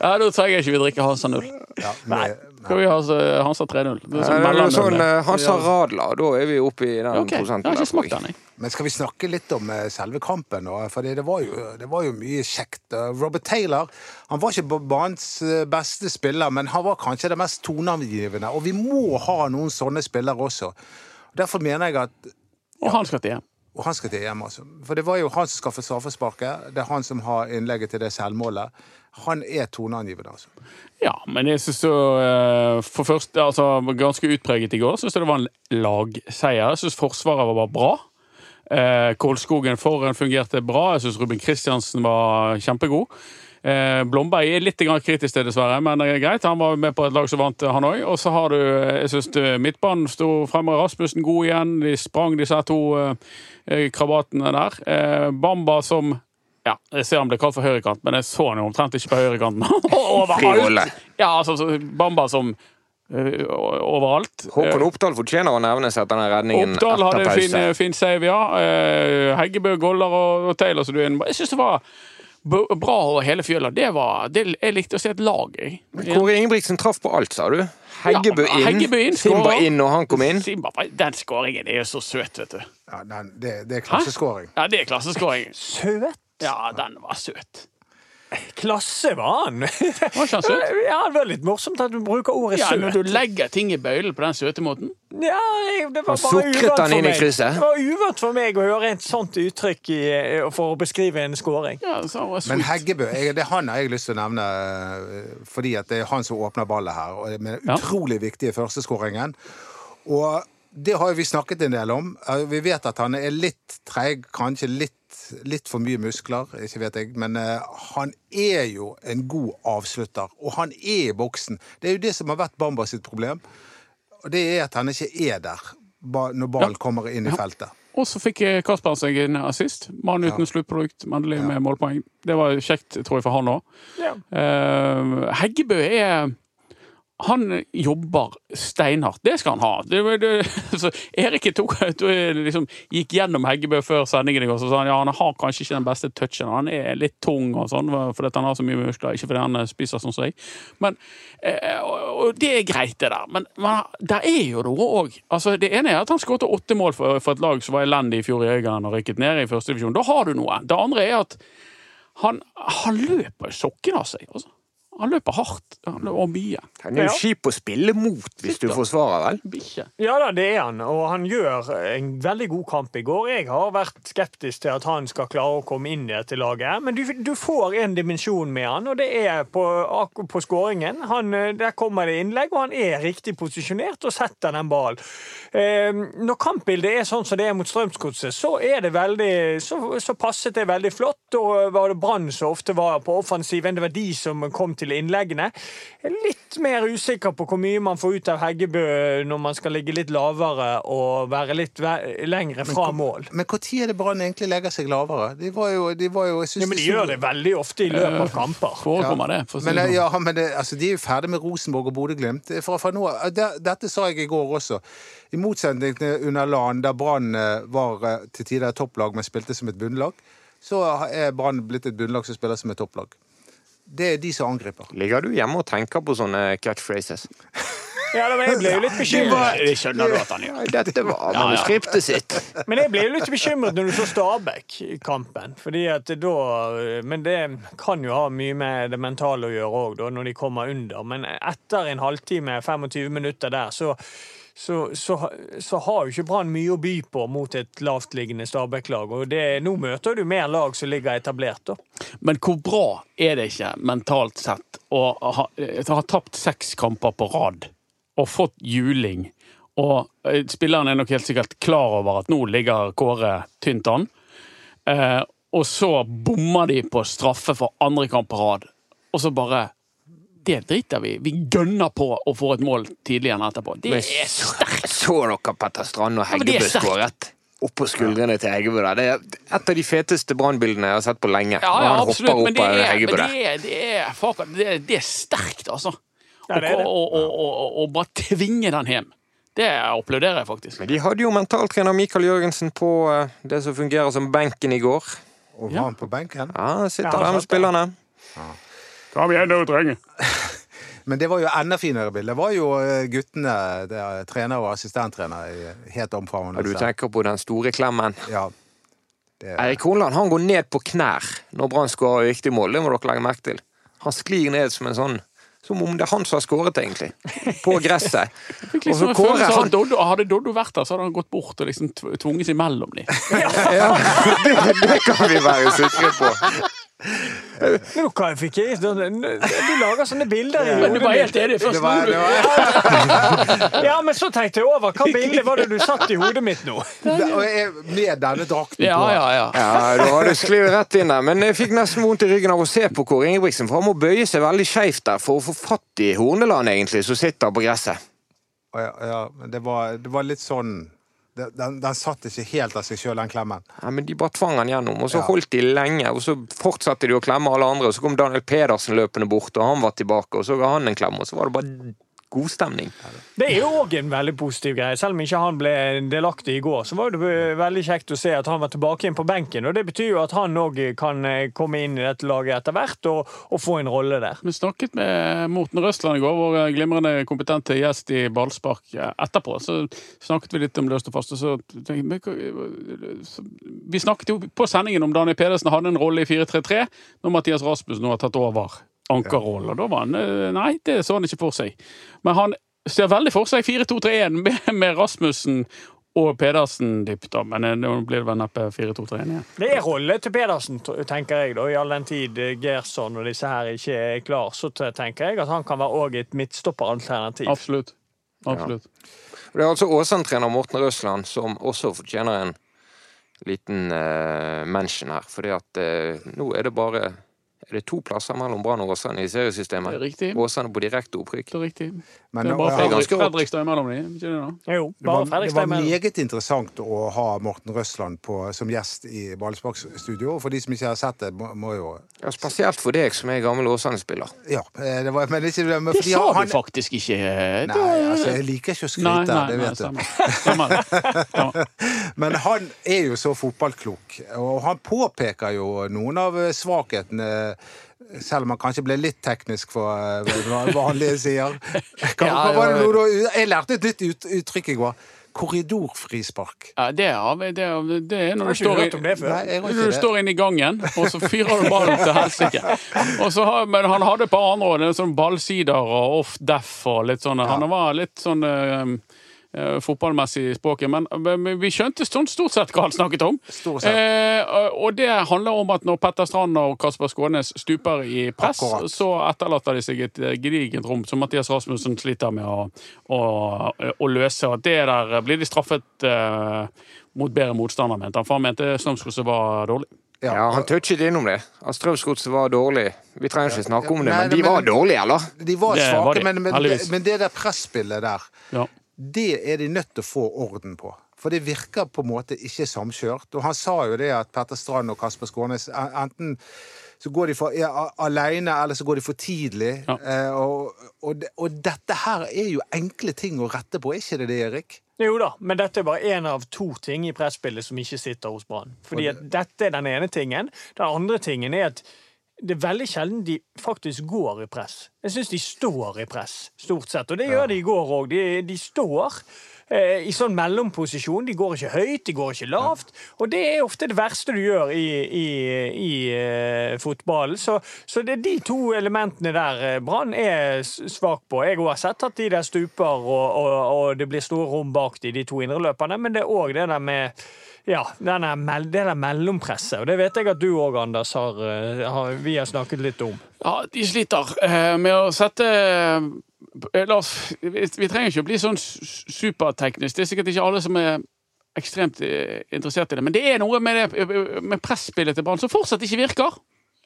Speaker 5: Ja, Da trenger jeg ikke vi drikke Hansa 0.
Speaker 3: Ja, med,
Speaker 5: Skal vi ha eh, Hansa 3-0? Det er
Speaker 2: Ja, det er noe sånn,
Speaker 5: mellomnull, det.
Speaker 2: eh, han sa radla, og da er vi oppe i den
Speaker 5: Ja, ok. Jeg
Speaker 2: prosenten. der,
Speaker 5: har ikke
Speaker 2: tror jeg.
Speaker 5: smakt den, jeg.
Speaker 3: men skal vi snakke litt om eh, selve kampen? nå? Fordi det var, jo, det var jo mye kjekt. Eh, Robert Taylor han var ikke banens eh, beste spiller, men han var kanskje det mest toneangivende. Og vi må ha noen sånne spillere også. Derfor mener jeg at
Speaker 5: Og han skal til hjem.
Speaker 3: Og han skal til EM, altså. For det var jo han som skaffet straffesparket. Det er han som har innlegget til det selvmålet. Han er toneangivende, altså.
Speaker 5: Ja, men jeg syns jo eh, For først, altså ganske utpreget i går, syns jeg det var en lagseier. Jeg syns Forsvaret var bare bra. Eh, Kolskogen foran fungerte bra. Jeg syns Ruben Kristiansen var kjempegod. Eh, Blomberg er litt grann kritisk til, dessverre, men det er greit. Han var med på et lag som vant, han òg. Og så har du eh, Jeg syns midtbanen sto fremover. Rasmussen god igjen. De sprang, disse to eh, eh, krabatene der. Eh, Bamba som ja, jeg ser han ble kalt for høyrekant, men jeg så han jo omtrent ikke på høyrekanten. <laughs>
Speaker 2: Fri rolle.
Speaker 5: overalt! Ja, altså, så Bamba som eh, overalt.
Speaker 2: Håkon Oppdal fortjener å nevnes etter den redningen
Speaker 5: Oppdal hadde
Speaker 2: etter
Speaker 5: en fin, eh,
Speaker 2: pause.
Speaker 5: fin save, ja. Eh, Heggebø, Goller og, og Taylor som du er inne på. Jeg syns det var b- bra over hele fjøla. Det var, det, jeg likte å se et lag, jeg.
Speaker 2: Kåre Ingebrigtsen traff på alt, sa du. Heggebø
Speaker 5: Ja,
Speaker 2: inn,
Speaker 5: Heggebø inn,
Speaker 2: Simba
Speaker 5: skårer.
Speaker 2: inn, og han kom inn.
Speaker 5: Simba, den skåringen er jo så søt, vet du.
Speaker 3: Ja, nei, det, det er
Speaker 5: Hæ?
Speaker 3: klasseskåring.
Speaker 5: Ja, det er klasseskåring.
Speaker 4: Søt!
Speaker 5: Ja, den var søt.
Speaker 4: Klasse var han!
Speaker 5: Var ikke han søt?
Speaker 4: <laughs> Ja, det var litt morsomt at du bruker ordet
Speaker 5: Ja, når
Speaker 4: søt.
Speaker 5: du legger ting i bøylen på den søte måten.
Speaker 4: Ja, jeg- det var
Speaker 2: Han
Speaker 4: bare
Speaker 2: sukret
Speaker 4: uvant
Speaker 2: han
Speaker 4: for
Speaker 2: inn i
Speaker 4: meg.
Speaker 2: krysset.
Speaker 4: Det var uvant for meg å høre et sånt uttrykk i, eh, for å beskrive en scoring.
Speaker 5: Ja, så var
Speaker 3: Men
Speaker 5: sweet.
Speaker 3: Heggebø jeg, det er han jeg har lyst til å nevne, eh, fordi at det er han som åpner ballet her. og det- Med den
Speaker 5: Ja.
Speaker 3: utrolig viktige førsteskåringen. Og det har jo vi snakket en del om. Eh, Vi vet at han er litt treig, kanskje litt, litt for mye muskler, ikke vet jeg. Men eh, han er jo en god avslutter, og han er i boksen. Det er jo det som har vært Bamba sitt problem, og det er at han ikke er der ba- når ballen kommer inn i feltet.
Speaker 5: Og så fikk eh, Kasper seg en assist. Mann uten sluttprodukt, endelig med målpoeng. Det var kjekt, tror jeg, for han òg.
Speaker 4: Ja.
Speaker 5: Eh, Heggebø er han jobber steinhardt. Det skal han ha. Det, var- det, <laughs> så Erik tok, liksom, gikk gjennom Heggebø før sendingen i går så sa han ja, han har kanskje ikke den beste touchen. Han er litt tung og sånn fordi at han har så mye muskler. Ikke fordi han spiser sånn som jeg. Men, eh, og, og det er greit, det der. Men, men der er jo noe òg. Altså, det ene er at han skåret åtte mål for, for et lag som var elendig i fjor i Øygarden og rykket ned i første divisjon. Da har du noe. Det andre er at han, han løper sokken av seg. Altså. Han løper hardt han løper, og mye.
Speaker 2: Han er jo kjip å spille mot, hvis du forsvarer, vel?
Speaker 5: Bikkje.
Speaker 4: ja da, det er han, og han gjør en veldig god kamp i går. Jeg har vært skeptisk til at han skal klare å komme inn i dette laget, men du, du får en dimensjon med han, og det er på, ak- på skåringen. Han, eh, der kommer det innlegg, og han er riktig posisjonert og setter den ballen. Eh, når kampbildet er sånn som det er mot Strømsgodset, så er det veldig så, så passet det veldig flott. Og eh, var det Brann som ofte var på offensiven. Det var de som kom til innleggene. Jeg er Litt mer usikker på hvor mye man får ut av Heggebø når man skal ligge litt lavere og være litt ve- lengre fra mål.
Speaker 3: Men når er det Brann egentlig legger seg lavere? De var jo, de var jo jeg synes
Speaker 4: Ja, men
Speaker 3: de
Speaker 4: de
Speaker 3: så-
Speaker 4: gjør det veldig ofte i løpet av kamper.
Speaker 5: Forekommer det. For å si
Speaker 3: Men,
Speaker 5: det
Speaker 3: eh,
Speaker 5: sånn.
Speaker 3: ja, men det, altså, de er jo ferdig med Rosenborg og Bodø-Glimt. Fra, fra nå, av- det- dette sa jeg i går også. I motsetning til under LAN, der Brann eh, var eh, til tider et topplag, men spilte som et bunnlag, så er Brann blitt et bunnlag som spiller som et topplag. det er de som angriper.
Speaker 2: Ligger du hjemme og tenker på sånne catchphrases?
Speaker 4: Ja, da, men jeg ble jo litt bekymret.
Speaker 5: Det skjønner du at han gjør.
Speaker 2: Nei, dette var manuskriptet sitt.
Speaker 4: Men jeg ble jo litt bekymret når du så Stabæk i kampen. Fordi at da Men det kan jo ha mye med det mentale å gjøre òg, da, når de kommer under. Men etter en halvtime, 25 minutter der, så så, så, så har jo ikke Brann mye å by på mot et lavtliggende Stabæk-lag. Og det, nå møter du mer lag som ligger etablert, da.
Speaker 5: Men hvor bra er det ikke mentalt sett å ha, ha tapt seks kamper på rad og fått juling? Og eh, spilleren er nok helt sikkert klar over at nå ligger Kåre tynt an. Eh, og så bommer de på straffe for andre kamp på rad. Og så bare Det driter vi i. Vi gønner på å få et mål tidlig igjen etterpå. Det
Speaker 2: Men
Speaker 5: er
Speaker 2: så, så dere Petter Strand og
Speaker 5: men det er
Speaker 2: Heggebø
Speaker 5: sterkt.
Speaker 2: skåret? Oppå skuldrene til Heggebø. der. Det er et av de feteste brannbildene jeg har sett på lenge.
Speaker 5: Ja,
Speaker 2: Når
Speaker 5: ja,
Speaker 2: han hopper
Speaker 5: absolutt. Men
Speaker 2: opp
Speaker 5: det
Speaker 2: av
Speaker 5: er,
Speaker 2: Heggebø
Speaker 5: men
Speaker 2: der.
Speaker 5: det er, det er, fuck, det er, det er sterkt, altså.
Speaker 4: Ja, det er det.
Speaker 5: Og, og, og, og, og, og bare tvinge den hjem. Det applauderer jeg faktisk.
Speaker 2: Men de hadde jo mentaltrener Mikael Jørgensen på eh, det som fungerer som benken i går.
Speaker 3: Og var han på benken?
Speaker 2: Ja, han sitter
Speaker 4: Ja, han
Speaker 2: der med
Speaker 4: satt der.
Speaker 2: spillerne.
Speaker 5: Kom igjen, nå, trenger.
Speaker 3: Men det var jo enda finere bilde. Det var jo eh, guttene, det er trener og assistenttrener, i helt omfavnelse.
Speaker 2: Ja, du tenker på den store klemmen.
Speaker 3: Ja. Det,
Speaker 2: Eirik Horneland han går ned på knær når Brann skårer viktig mål. Det må dere legge merke til. Han sklir ned som en sånn Som om det er han som har skåret, egentlig. På gresset. <laughs> Og
Speaker 5: Liksom,
Speaker 2: så
Speaker 5: en
Speaker 2: Kåre,
Speaker 5: følelse av at
Speaker 2: han
Speaker 5: Doddo, hadde Doddo vært der, så hadde han gått bort og liksom tv- tvunget seg mellom dem.
Speaker 2: ja, det, det kan vi være sikre på.
Speaker 4: Nå hva jeg fikk jeg Du lager sånne bilder i
Speaker 5: Men du
Speaker 4: hodet
Speaker 5: var
Speaker 4: mitt.
Speaker 5: helt enig først
Speaker 3: det var,
Speaker 5: nå.
Speaker 3: det var <laughs>
Speaker 4: <laughs> Ja, men så tenkte jeg over. Hva bilde var det du satt i hodet mitt nå?
Speaker 3: Og jeg- Med denne drakten
Speaker 5: Ja,
Speaker 3: på.
Speaker 5: ja, ja.
Speaker 2: Ja, da har du sklidd rett inn der. Men jeg fikk nesten vondt i ryggen av å se på Kåre Ingebrigtsen, for han må bøye seg veldig skeivt der for å få fatt i Horneland, egentlig, som sitter på gresset.
Speaker 3: Og Ja, ja, men det var, det var litt sånn det- den, den satt ikke helt av seg sjøl, den klemmen.
Speaker 2: Ja, men De bare tvang han gjennom, og så
Speaker 3: Ja.
Speaker 2: holdt de lenge. og Så fortsatte de å klemme alle andre, og så kom Daniel Pedersen løpende bort, og han var tilbake, og så ga han en klem, og så var det bare god stemning.
Speaker 4: Det er jo òg en veldig positiv greie. Selv om ikke han ble delaktig i går, så var det veldig kjekt å se at han var tilbake inn på benken. Og det betyr jo at han òg kan eh, komme inn i dette laget etter hvert og, og få en rolle der.
Speaker 5: Vi snakket med Morten Røsland i går, vår glimrende kompetente gjest i ballspark. eh, Etterpå så snakket vi litt om løst og fast. Og så tenkte jeg, men hva- så- vi snakket jo på sendingen om Daniel Pedersen hadde en rolle i 4-3-3, når Mathias Rasmussen nå har tatt over ankerrollen. Og Da var han eh, Nei, det så han ikke for seg. Men han ser veldig for seg 4-2-3-1 med, med Rasmussen og Pedersen dypt, da. Men eh, nå blir det vel neppe 4-2-3-1 igjen.
Speaker 4: Det er rolle til Pedersen, t- tenker jeg, da. I all den tid eh, Gerson og disse her ikke er klar, så t- tenker jeg at han kan være òg et midtstopperalternativ.
Speaker 5: Absolutt. Absolutt.
Speaker 2: Og Det er altså Åsane-trener Morten Røsland som også fortjener en liten eh, mention her. fordi at eh, nå er det bare er det to plasser mellom Brann og Åsane i seriesystemet.
Speaker 5: Det er riktig.
Speaker 2: Åsane på direkte opprykk.
Speaker 5: Det er riktig.
Speaker 3: Men
Speaker 5: Det er bare
Speaker 3: nå-
Speaker 2: Fredrik-
Speaker 5: Fredrik,
Speaker 2: ganske rått.
Speaker 5: Fredrikstad imellom dem. Ikke det da?
Speaker 4: Jo,
Speaker 3: det var,
Speaker 4: bare
Speaker 3: det var
Speaker 4: Fredrikstein. men-
Speaker 3: meget interessant å ha Morten Røsland på, som gjest i Ballsparkstudio. Og for de som ikke har sett det, må, må jo
Speaker 2: Ja, spesielt for deg som er gammel Åsane-spiller.
Speaker 3: Ja. eh, Det, var, men ikke, men
Speaker 5: Det
Speaker 3: fordi
Speaker 5: sa
Speaker 3: han-
Speaker 5: du faktisk ikke. Det-
Speaker 3: Nei, altså, jeg liker ikke å
Speaker 5: nei,
Speaker 3: skryte,
Speaker 5: nei,
Speaker 3: det
Speaker 5: nei,
Speaker 3: vet du.
Speaker 5: stemmer.
Speaker 3: <laughs>
Speaker 5: stemmer. stemmer.
Speaker 3: Men han er jo så fotballklok, og han påpeker jo noen av svakhetene. Selv om han kanskje ble litt teknisk for eh, hva vanlige
Speaker 5: <laughs>
Speaker 3: sider. Hva, hva var det, nå da? jeg lærte et nytt ut, uttrykk i går. Korridorfrispark.
Speaker 5: Ja, det, er, det, er, det er når du
Speaker 4: Har ikke
Speaker 5: står
Speaker 4: hørt om
Speaker 5: i
Speaker 4: det før.
Speaker 3: Nei, jeg har
Speaker 5: når du
Speaker 3: ikke det.
Speaker 5: står inne i gangen, og så fyrer du ballen til helsike. Og så har- Men han hadde et par andre råd, sånn ballsider og off deff og litt sånn. Han var litt sånn eh, eh, fotballmessig i språket, men, men vi skjønte sånn stort sett hva han snakket om.
Speaker 3: Stort sett.
Speaker 5: Eh, og- og det handler om at når Petter Strand og Kasper Skånes stuper i press,
Speaker 3: Akkurat.
Speaker 5: så etterlater de seg et eh, gedigent rom som Mathias Rasmussen sliter med å, å, å løse. Og det der blir de straffet eh, mot bedre motstandere, mente han. For han mente Snømsgodset var dårlig.
Speaker 2: Ja, Han touchet innom det. At Strømsgodset var dårlig. Vi trenger ikke snakke om det,
Speaker 3: Nei,
Speaker 2: men de
Speaker 3: men-
Speaker 2: var dårlige, eller?
Speaker 3: De var
Speaker 5: Det var
Speaker 3: svake,
Speaker 5: de,
Speaker 3: men, men,
Speaker 5: heldigvis.
Speaker 3: men det der presspillet der,
Speaker 5: Ja.
Speaker 3: det er de nødt til å få orden på. For det virker på en måte ikke samkjørt. Og han sa jo det at Petter Strand og Kasper Skånes en- enten så går de for, er a- alene, eller så går de for tidlig.
Speaker 5: Ja.
Speaker 3: Eh, og, og, det- og dette her er jo enkle ting å rette på, er ikke det det, Erik?
Speaker 4: Jo da, men dette er bare én av to ting i presspillet som ikke sitter hos Brann. Fordi at dette er den ene tingen. Den andre tingen er at det er veldig sjelden de faktisk går i press. Jeg syns de står i press, stort sett. Og det gjør de i går òg. De, de står eh, i sånn mellomposisjon. De går ikke høyt, de går ikke lavt. Og det er ofte det verste du gjør i, i, i eh, fotballen. Så, så det er de to elementene der eh, Brann er s- svak på. Jeg har sett at de der stuper, og, og, og det blir store rom bak de, de to indreløperne, men det er òg det der med ja, den er mel det der mellompresset. Og det vet jeg at du òg, Anders, har, eh, har, vi har snakket litt om.
Speaker 5: Ja, de sliter eh, med å sette eh, La oss Vi vi trenger ikke å bli sånn su- superteknisk. Det er sikkert ikke alle som er ekstremt eh, interessert i det. Men det er noe med, det, eh, med presspillet til Brann som fortsatt ikke virker.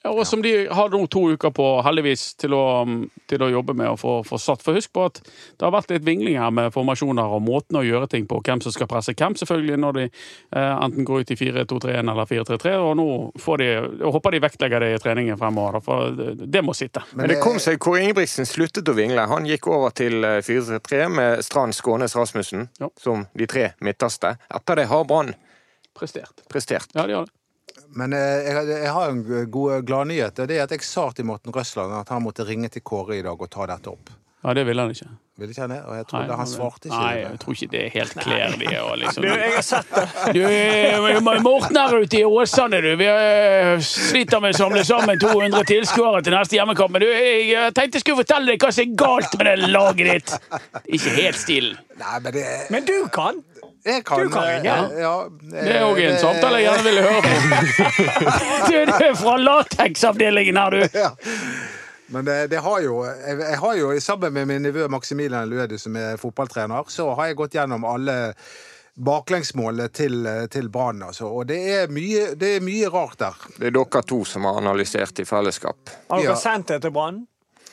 Speaker 5: Og som de har nå to uker på, heldigvis, til å, um, til å jobbe med å få, få satt. For husk på at det har vært litt vingling her med formasjoner og måten å gjøre ting på. Hvem som skal presse hvem, selvfølgelig, når de eh, enten går ut i 4-2-3-1 eller 4-3-3. Og nå får de, jeg håper de vektlegger det i treningen fremover, da, for det, det må sitte.
Speaker 2: Men det kom seg Kåre Ingebrigtsen sluttet å vingle. Han gikk over til eh, 4-3 med Strand, Skånes, Rasmussen
Speaker 5: Ja.
Speaker 2: som de tre midterste. Etter det har Brann
Speaker 5: Prestert.
Speaker 2: prestert.
Speaker 5: Ja, de har det.
Speaker 3: Men eh, jeg, jeg har en god gladnyhet. og Det er at jeg sa til Morten Røsland at han måtte ringe til Kåre i dag og ta dette opp.
Speaker 5: Ja, det ville han ikke.
Speaker 3: Ville ikke han det? Og jeg
Speaker 5: Nei,
Speaker 3: trodde han svarte ikke.
Speaker 5: Nei, jeg tror ikke det er helt klerlig. og Liksom.
Speaker 4: Du, jeg har sett det.
Speaker 5: Du, eh, Morten her ute i Åsane, du. Vi eh, sliter med å samle sammen 200 tilskuere til neste hjemmekamp. Men du, jeg eh, tenkte jeg skulle fortelle deg hva som er galt med det laget ditt. Ikke helt stilen.
Speaker 3: Nei, men det
Speaker 4: Men du kan!
Speaker 3: jeg kan,
Speaker 4: Du kan
Speaker 3: eh,
Speaker 4: ringe.
Speaker 3: ja, eh,
Speaker 5: Det er òg en samtale jeg gjerne ville høre på.
Speaker 3: <laughs>
Speaker 5: Du, du er fra lateksavdelingen her, du.
Speaker 3: Ja. Men eh, det, det har jo, jeg, jeg har jo, sammen med min nevø Maximilian Lødi, som er fotballtrener, så har jeg gått gjennom alle baklengsmålene til, til Brann. Altså. Og det er, mye, det er mye rart der.
Speaker 2: Det er dere to som har analysert i fellesskap.
Speaker 4: Har
Speaker 3: Ja.
Speaker 4: dere sendt det til Brann?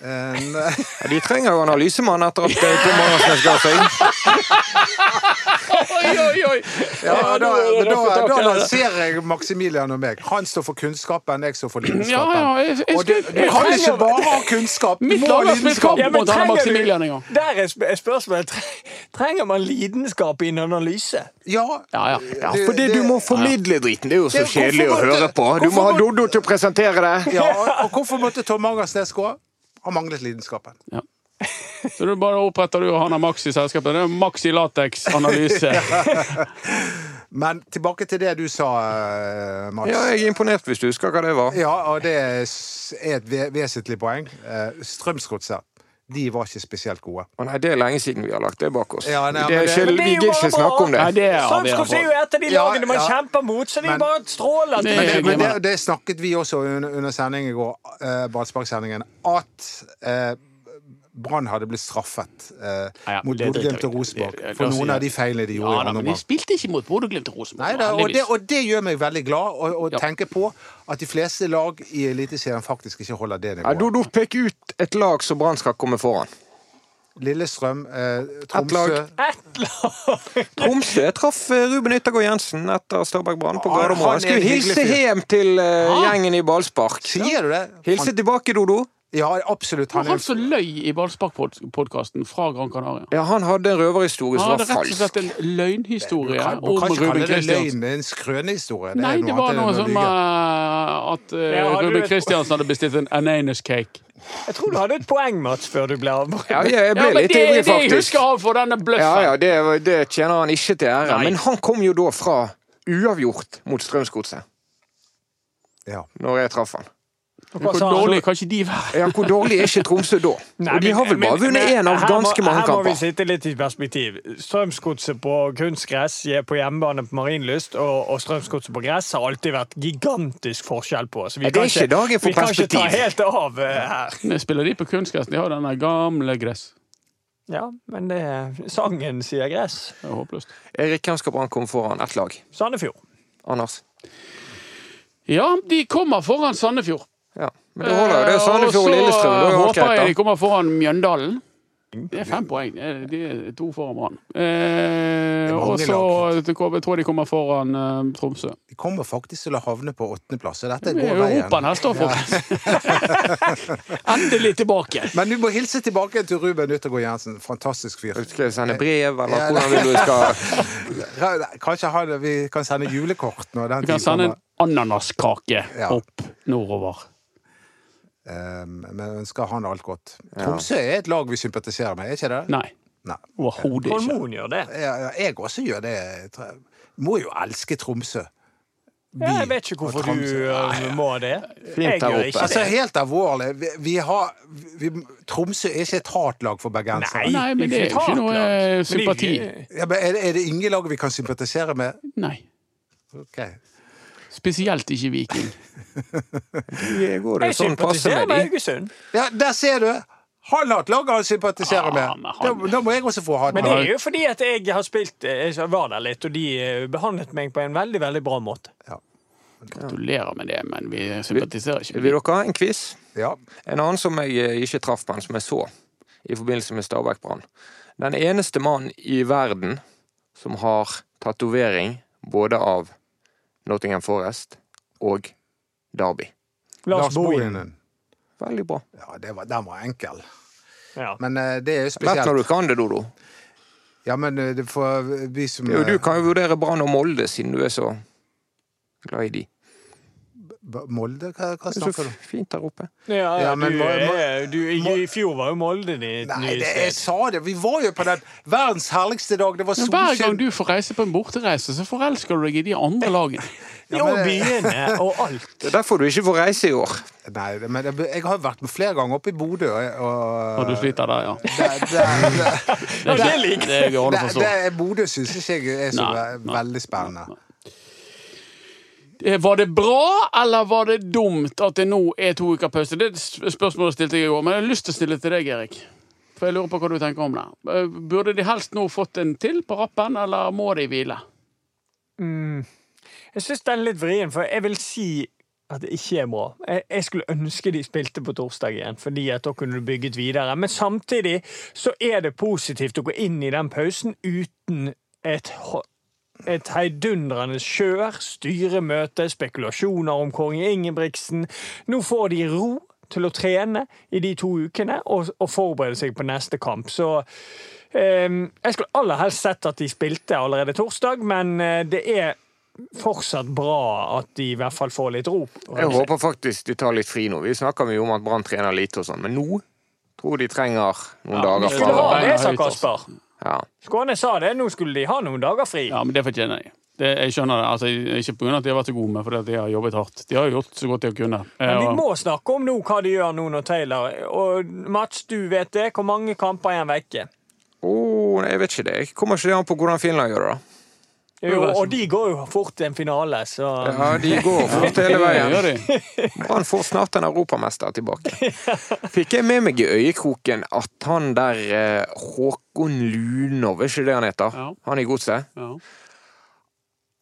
Speaker 3: En-
Speaker 5: <laughs>
Speaker 2: Ja, de trenger jo analysemann etter at eh, Tom Andersen ga seg.
Speaker 5: Oi, oi, oi.
Speaker 3: Ja,
Speaker 5: Ja,
Speaker 3: da,
Speaker 5: nå-
Speaker 3: men da,
Speaker 5: nå
Speaker 3: da,
Speaker 5: får jeg tak i det.
Speaker 3: lanserer jeg Maximilian og meg. Han står for kunnskapen, jeg står for lidenskapen.
Speaker 5: Ja, ja, jeg- jeg
Speaker 3: og du,
Speaker 5: skulle-
Speaker 3: du
Speaker 5: jeg
Speaker 3: kan
Speaker 5: trenger-
Speaker 3: ikke bare ha kunnskap, du
Speaker 5: Mitt
Speaker 3: må
Speaker 5: lag
Speaker 3: ha
Speaker 5: har spilt
Speaker 3: lidenskap!
Speaker 5: kamp.
Speaker 4: men
Speaker 5: måtte han ha
Speaker 4: trenger du-
Speaker 5: Maximilian en gang.
Speaker 4: Der er sp- spørsmålet. Tre- Trenger man lidenskap i en analyse?
Speaker 3: Ja,
Speaker 5: Ja, ja.
Speaker 2: Ja, for det, du må formidle driten. Det er jo så
Speaker 3: Det-
Speaker 2: kjedelig å
Speaker 3: hvorfor måtte-
Speaker 2: høre på. Du må ha
Speaker 3: hvorfor må-
Speaker 2: Doddo til å presentere det.
Speaker 3: ja, og hvorfor måtte Tom Angersnes gå? Han manglet lidenskapen.
Speaker 5: Så du bare oppretter du og han har Max i selskapet. Det er Max i lateksanalyse.
Speaker 3: Men tilbake til det du sa, eh, Mats.
Speaker 2: Ja, jeg er imponert hvis du husker hva det var.
Speaker 3: Ja, og det er s- er et ve- vesentlig poeng. Eh, Strømsgodset, de var ikke spesielt gode.
Speaker 2: Å nei, det er lenge siden vi har lagt det bak oss.
Speaker 3: Ja, nei,
Speaker 2: det
Speaker 3: men
Speaker 2: er
Speaker 3: det-
Speaker 2: ikke,
Speaker 3: Men
Speaker 4: det er
Speaker 2: vi
Speaker 4: jo
Speaker 2: gidder
Speaker 4: bare
Speaker 2: ikke snakke om det.
Speaker 5: Nei, det er
Speaker 4: Strømsgodset er Sånn jo et av de
Speaker 3: Ja,
Speaker 4: lagene man
Speaker 3: ja.
Speaker 4: kjemper mot, så det er
Speaker 3: Men-
Speaker 4: jo bare stråler.
Speaker 5: Men-
Speaker 3: Men det, men
Speaker 5: Glimrende.
Speaker 3: det, det snakket vi også under, under sending i går, eh, ballsparksendingen, at eh, Brann hadde blitt straffet eh,
Speaker 5: Ja, ja,
Speaker 3: mot
Speaker 5: det driter
Speaker 3: Bodø-Glimt
Speaker 5: vi
Speaker 3: og
Speaker 5: i.
Speaker 3: Rosenborg
Speaker 5: Det- det-
Speaker 3: for
Speaker 5: la oss
Speaker 3: noen
Speaker 5: si
Speaker 3: av de
Speaker 5: det.
Speaker 3: feilene de gjorde.
Speaker 5: Ja,
Speaker 3: i
Speaker 5: da,
Speaker 3: andre
Speaker 5: men de
Speaker 3: omgang.
Speaker 5: spilte ikke mot Bodø-Glimt og Rosenborg.
Speaker 3: Nei, da, og, det,
Speaker 5: heldigvis.
Speaker 3: og det gjør meg veldig glad å å
Speaker 5: Ja.
Speaker 3: tenke på at de fleste lag i Eliteserien faktisk ikke holder det
Speaker 2: Ja,
Speaker 3: nivået.
Speaker 2: Doddo, pek ut et lag som Brann skal komme foran.
Speaker 3: Lillestrøm, eh, Tromsø
Speaker 2: lag.
Speaker 4: Et lag!
Speaker 2: Tromsø Jeg traff eh, Ruben Yttergård Jensen etter Stabæk Brann på
Speaker 3: Ah, han er
Speaker 2: Gardermoen. Jeg
Speaker 3: en
Speaker 2: Skulle
Speaker 3: hyggelig
Speaker 2: hilse
Speaker 3: fyr.
Speaker 2: hjem til eh, gjengen i ballspark.
Speaker 3: Sier du det?
Speaker 2: Hilse tilbake, Dodo.
Speaker 3: Ja, absolutt.
Speaker 5: Det var
Speaker 3: Han
Speaker 5: han
Speaker 3: er,
Speaker 5: som løy i Ballspark-podkasten fra Gran Canaria.
Speaker 2: Ja, han hadde en røverhistorie
Speaker 5: Han
Speaker 2: som var
Speaker 5: hadde rett og
Speaker 2: falsk.
Speaker 5: slett en løgnhistorie
Speaker 3: kan, du
Speaker 5: om
Speaker 3: kan ikke
Speaker 5: Ruben
Speaker 3: kalle det
Speaker 5: Kristiansen.
Speaker 3: løgn, det er en skrønehistorie.
Speaker 5: Nei, det var noe som
Speaker 3: lyge.
Speaker 5: eh, at eh,
Speaker 4: Ja, hadde du
Speaker 5: Ruben
Speaker 4: et-
Speaker 5: Kristiansen hadde bestilt en Ananus cake.
Speaker 4: Jeg tror du hadde et poeng, Mats, før du ble avbrutt.
Speaker 2: Ja, jeg
Speaker 5: Ja,
Speaker 2: ble
Speaker 5: men
Speaker 2: litt
Speaker 5: det
Speaker 2: ivrig,
Speaker 5: er det jeg
Speaker 2: faktisk.
Speaker 5: husker han for
Speaker 2: Ja,
Speaker 5: denne bløffen.
Speaker 2: ja, det, det tjener han ikke til ære.
Speaker 5: Nei.
Speaker 2: Men han kom jo da fra uavgjort mot Strømsgodset,
Speaker 3: Ja.
Speaker 2: når jeg traff han.
Speaker 4: Hva
Speaker 3: altså,
Speaker 5: Hvor
Speaker 4: sa han?
Speaker 5: dårlig kan ikke de være?
Speaker 2: Ja, Hvor dårlig er ikke Tromsø da?
Speaker 4: Nei,
Speaker 2: Og de
Speaker 4: men-
Speaker 2: har vel bare
Speaker 4: men-
Speaker 2: vunnet
Speaker 4: men
Speaker 2: én av
Speaker 4: her
Speaker 2: ganske
Speaker 4: må-
Speaker 2: mange
Speaker 4: Her må vi
Speaker 2: kamper.
Speaker 4: sitte litt i perspektiv. Strømsgodset på kunstgress je- på hjemmebane på Marienlyst og, og Strømsgodset på gress har alltid vært gigantisk forskjell på. Så vi
Speaker 2: Ja, det
Speaker 4: kan
Speaker 2: er ikke dagen for
Speaker 4: vi kan ikke ta
Speaker 2: perspektiv.
Speaker 4: helt av eh, her.
Speaker 5: Spiller de på kunstgress? De har denne gamle gress.
Speaker 4: Ja, men det er sangen sier gress.
Speaker 5: Det er håpløst.
Speaker 2: Erik, hvem skal Brann komme foran? Ett lag.
Speaker 4: Sandefjord.
Speaker 2: Anders?
Speaker 5: Ja, de kommer foran Sandefjord.
Speaker 2: Ja, men det holder jo. Det er Sandefjord og
Speaker 5: Eh,
Speaker 2: Lillestrøm. Da
Speaker 5: Og
Speaker 2: er
Speaker 5: så
Speaker 2: alt
Speaker 5: håper jeg de
Speaker 2: greit, da.
Speaker 5: kommer foran Mjøndalen. Det er fem poeng. Det er- De er to foran Brann. Eh,
Speaker 3: er mange
Speaker 5: og så
Speaker 3: lag.
Speaker 5: det kommer- jeg tror jeg de kommer foran eh, Tromsø.
Speaker 3: De kommer faktisk til å havne på åttendeplass, så dette
Speaker 5: Det
Speaker 3: går
Speaker 5: er Europa
Speaker 3: veien.
Speaker 5: neste år, <laughs> folkens. Endelig tilbake.
Speaker 3: Men du må hilse tilbake til Ruben Yttergård Jensen. Fantastisk fyr.
Speaker 2: Skal vi sende brev, eller
Speaker 3: Ja,
Speaker 2: hvordan vil du skal
Speaker 3: Kanskje han, vi kan sende julekort når den
Speaker 5: Vi kan
Speaker 3: tid
Speaker 5: sende en
Speaker 3: kommer.
Speaker 5: ananaskake
Speaker 3: Ja.
Speaker 5: opp nordover.
Speaker 3: Eh, men ønsker han alt godt. Tromsø er et lag vi sympatiserer med, er ikke det?
Speaker 5: Nei,
Speaker 3: Nei.
Speaker 5: overhodet ikke.
Speaker 4: Hormon gjør det.
Speaker 3: Ja, ja, Jeg også gjør det. Jeg tror- Må jo elske Tromsø.
Speaker 4: Ja, jeg vet ikke hvorfor
Speaker 3: og Tromsø.
Speaker 4: du eh, må det.
Speaker 2: Flint
Speaker 4: Jeg
Speaker 2: der
Speaker 4: gjør
Speaker 2: oppe.
Speaker 4: ikke
Speaker 3: Altså,
Speaker 4: det.
Speaker 3: helt alvorlig. Vi, vi har vi, Tromsø er ikke et hatlag for bergensere.
Speaker 4: Nei.
Speaker 5: Nei, men det er jo ikke noe eh, sympati.
Speaker 3: Ja, men er, det- er det ingen lag vi kan sympatisere med?
Speaker 5: Nei.
Speaker 3: Ok.
Speaker 5: Spesielt ikke Viking.
Speaker 2: Jeg går det
Speaker 4: Jeg
Speaker 2: jo sånn passe
Speaker 4: sympatiserer
Speaker 2: med
Speaker 4: med
Speaker 2: de.
Speaker 4: Haugesund.
Speaker 3: Ja, der ser du! Han har et lag han sympatiserer
Speaker 5: Ah,
Speaker 3: med.
Speaker 5: men
Speaker 3: Da,
Speaker 5: han-
Speaker 3: da må jeg også få ha et
Speaker 4: Men det
Speaker 3: lag.
Speaker 4: er jo fordi at jeg har spilt eh, Jeg var der litt, og de eh, behandlet meg på en veldig, veldig bra måte.
Speaker 5: Gratulerer med det, men vi sympatiserer ikke.
Speaker 2: Vil
Speaker 5: med det.
Speaker 2: dere ha en quiz?
Speaker 3: Ja.
Speaker 2: En annen som jeg eh, ikke traff, men som jeg så i forbindelse med Stabæk-brannen. Den eneste mannen i verden som har tatovering både av Nottingham Forest og Derby.
Speaker 4: Lars Bohin.
Speaker 3: Bohinen.
Speaker 2: Veldig bra.
Speaker 3: Ja, det var, den var enkel.
Speaker 4: Ja.
Speaker 3: Men eh, det er jo
Speaker 2: Vet når du
Speaker 3: spesielt.
Speaker 2: kan det, Dodo.
Speaker 3: Ja, men eh, det får vi som
Speaker 2: Det er jo,
Speaker 3: eh,
Speaker 2: du kan jo vurdere Brann og Molde, siden du er så glad i de.
Speaker 3: B- Molde? Hva, hva
Speaker 2: Det er
Speaker 3: snakker
Speaker 2: så
Speaker 3: du om?
Speaker 2: fint der oppe.
Speaker 4: Ja,
Speaker 3: Ja,
Speaker 4: du,
Speaker 3: men må- må-
Speaker 4: er- du, i, I fjor var jo Molde ditt
Speaker 3: Nei,
Speaker 4: nye
Speaker 3: det, jeg
Speaker 4: sted.
Speaker 3: sa det! Vi var jo på den verdens herligste dag. Det var
Speaker 5: Men hver
Speaker 3: solskinn.
Speaker 5: gang du får reise på en bortereise, så forelsker du deg i de andre lagene.
Speaker 4: Jo,
Speaker 3: men-
Speaker 4: byene
Speaker 3: <laughs>
Speaker 4: og alt.
Speaker 2: Det er derfor du ikke får reise i år.
Speaker 3: Nei, det- men jeg, jeg har vært med flere ganger oppe i Bodø, og, og
Speaker 5: Og du sliter der, ja.
Speaker 3: der, der, der,
Speaker 5: Det er ikke- det går an å
Speaker 3: der,
Speaker 5: forstå.
Speaker 3: der, Bodø syns ikke jeg er så
Speaker 5: Nei,
Speaker 3: ve-
Speaker 5: nei,
Speaker 3: veldig spennende.
Speaker 5: Eh, Var det bra, eller var det dumt at det nå er to uker pause? Det er et sp- spørsmålet stilte jeg i går, men jeg har lyst til å stille til deg, Erik. For jeg lurer på hva du tenker om det. Eh, Burde de helst nå fått en til på rappen, eller må de hvile?
Speaker 4: Jeg syns den er litt vrien, for jeg vil si at det ikke er bra. Jeg, jeg skulle ønske de spilte på torsdag igjen, fordi at da kunne du bygget videre. Men samtidig så er det positivt å gå inn i den pausen uten et ho- et heidundrende kjør, styremøte, spekulasjoner om konge Ingebrigtsen. Nå får de ro til å trene i de to ukene og, og forberede seg på neste kamp. Så ehm, jeg skulle aller helst sett at de spilte allerede torsdag, men eh, det er fortsatt bra at de i hvert fall får litt ro.
Speaker 2: Jeg håper faktisk de tar litt fri nå. Vi snakker mye om at Brann trener lite og sånn, men nå tror de trenger noen dager
Speaker 5: vi
Speaker 4: Skulle
Speaker 5: skal
Speaker 4: ha
Speaker 2: framover.
Speaker 4: det, sa
Speaker 5: Høyt, altså.
Speaker 4: Kasper.
Speaker 2: Ja.
Speaker 4: Skåne sa det, nå skulle de ha noen dager fri.
Speaker 5: Ja, men det fortjener de. Det, jeg skjønner det. Altså, ikke pga. at de har vært så gode, men fordi at de har jobbet hardt. De har jo gjort så godt de har kunnet. Eh,
Speaker 4: Men vi
Speaker 5: og-
Speaker 4: må snakke om nå hva de gjør nå når Taylor Og Mats, du vet det. Hvor mange kamper er han vekke?
Speaker 2: Åh, nei, jeg vet ikke det. Jeg kommer ikke an på hvordan Finland gjør det. da.
Speaker 4: Jo, og de går jo fort til en finale, så
Speaker 2: Ja, De
Speaker 5: <laughs>
Speaker 2: går fort
Speaker 5: Ja,
Speaker 2: hele
Speaker 5: det gjør
Speaker 2: veien.
Speaker 5: de.
Speaker 2: Brann får snart en europamester
Speaker 5: <laughs>
Speaker 2: tilbake. Fikk jeg med meg i øyekroken at han der eh, Håkon Lunov, er ikke det han heter?
Speaker 5: Ja.
Speaker 2: Han i Godset?
Speaker 5: Ja.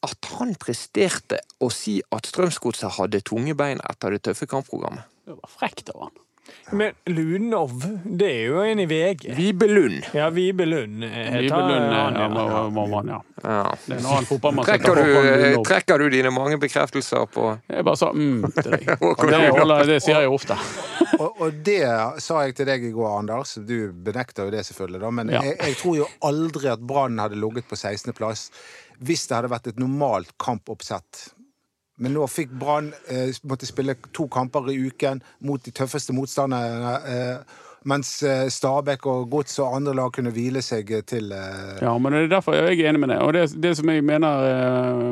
Speaker 2: At han presterte å si at Strømsgodset hadde tunge bein etter det tøffe kampprogrammet.
Speaker 5: Det var frekt av han.
Speaker 4: Men Lunov, det er jo en i VG.
Speaker 2: Vibe Lund.
Speaker 4: Ja, Vibe Lund heter
Speaker 5: Vibe Lund
Speaker 4: han,
Speaker 5: eh,
Speaker 4: ja.
Speaker 5: må, må man, ja.
Speaker 2: Ja.
Speaker 5: Det er en annen fotballmann som heter
Speaker 2: Trekker du,
Speaker 5: Håkon
Speaker 2: eh,
Speaker 5: Lundov.
Speaker 2: trekker du dine mange bekreftelser på
Speaker 5: Jeg bare sa mm til <laughs> deg.
Speaker 2: Håkon
Speaker 5: Det,
Speaker 2: Lundov?
Speaker 5: holder, det sier jeg ofte.
Speaker 3: Og, og det sa jeg til deg i går, Anders. Du benekter jo det, selvfølgelig. Da. Men
Speaker 5: Ja.
Speaker 3: jeg, jeg tror jo aldri at Brann hadde ligget på 16.-plass hvis det hadde vært et normalt kampoppsett. Men nå fikk Brann eh, måtte spille to kamper i uken mot de tøffeste motstanderne. Eh, mens eh, Stabæk og Gods og andre lag kunne hvile seg eh, til eh,
Speaker 5: Ja, men det er derfor jeg er enig med deg. Og det, det som jeg mener eh,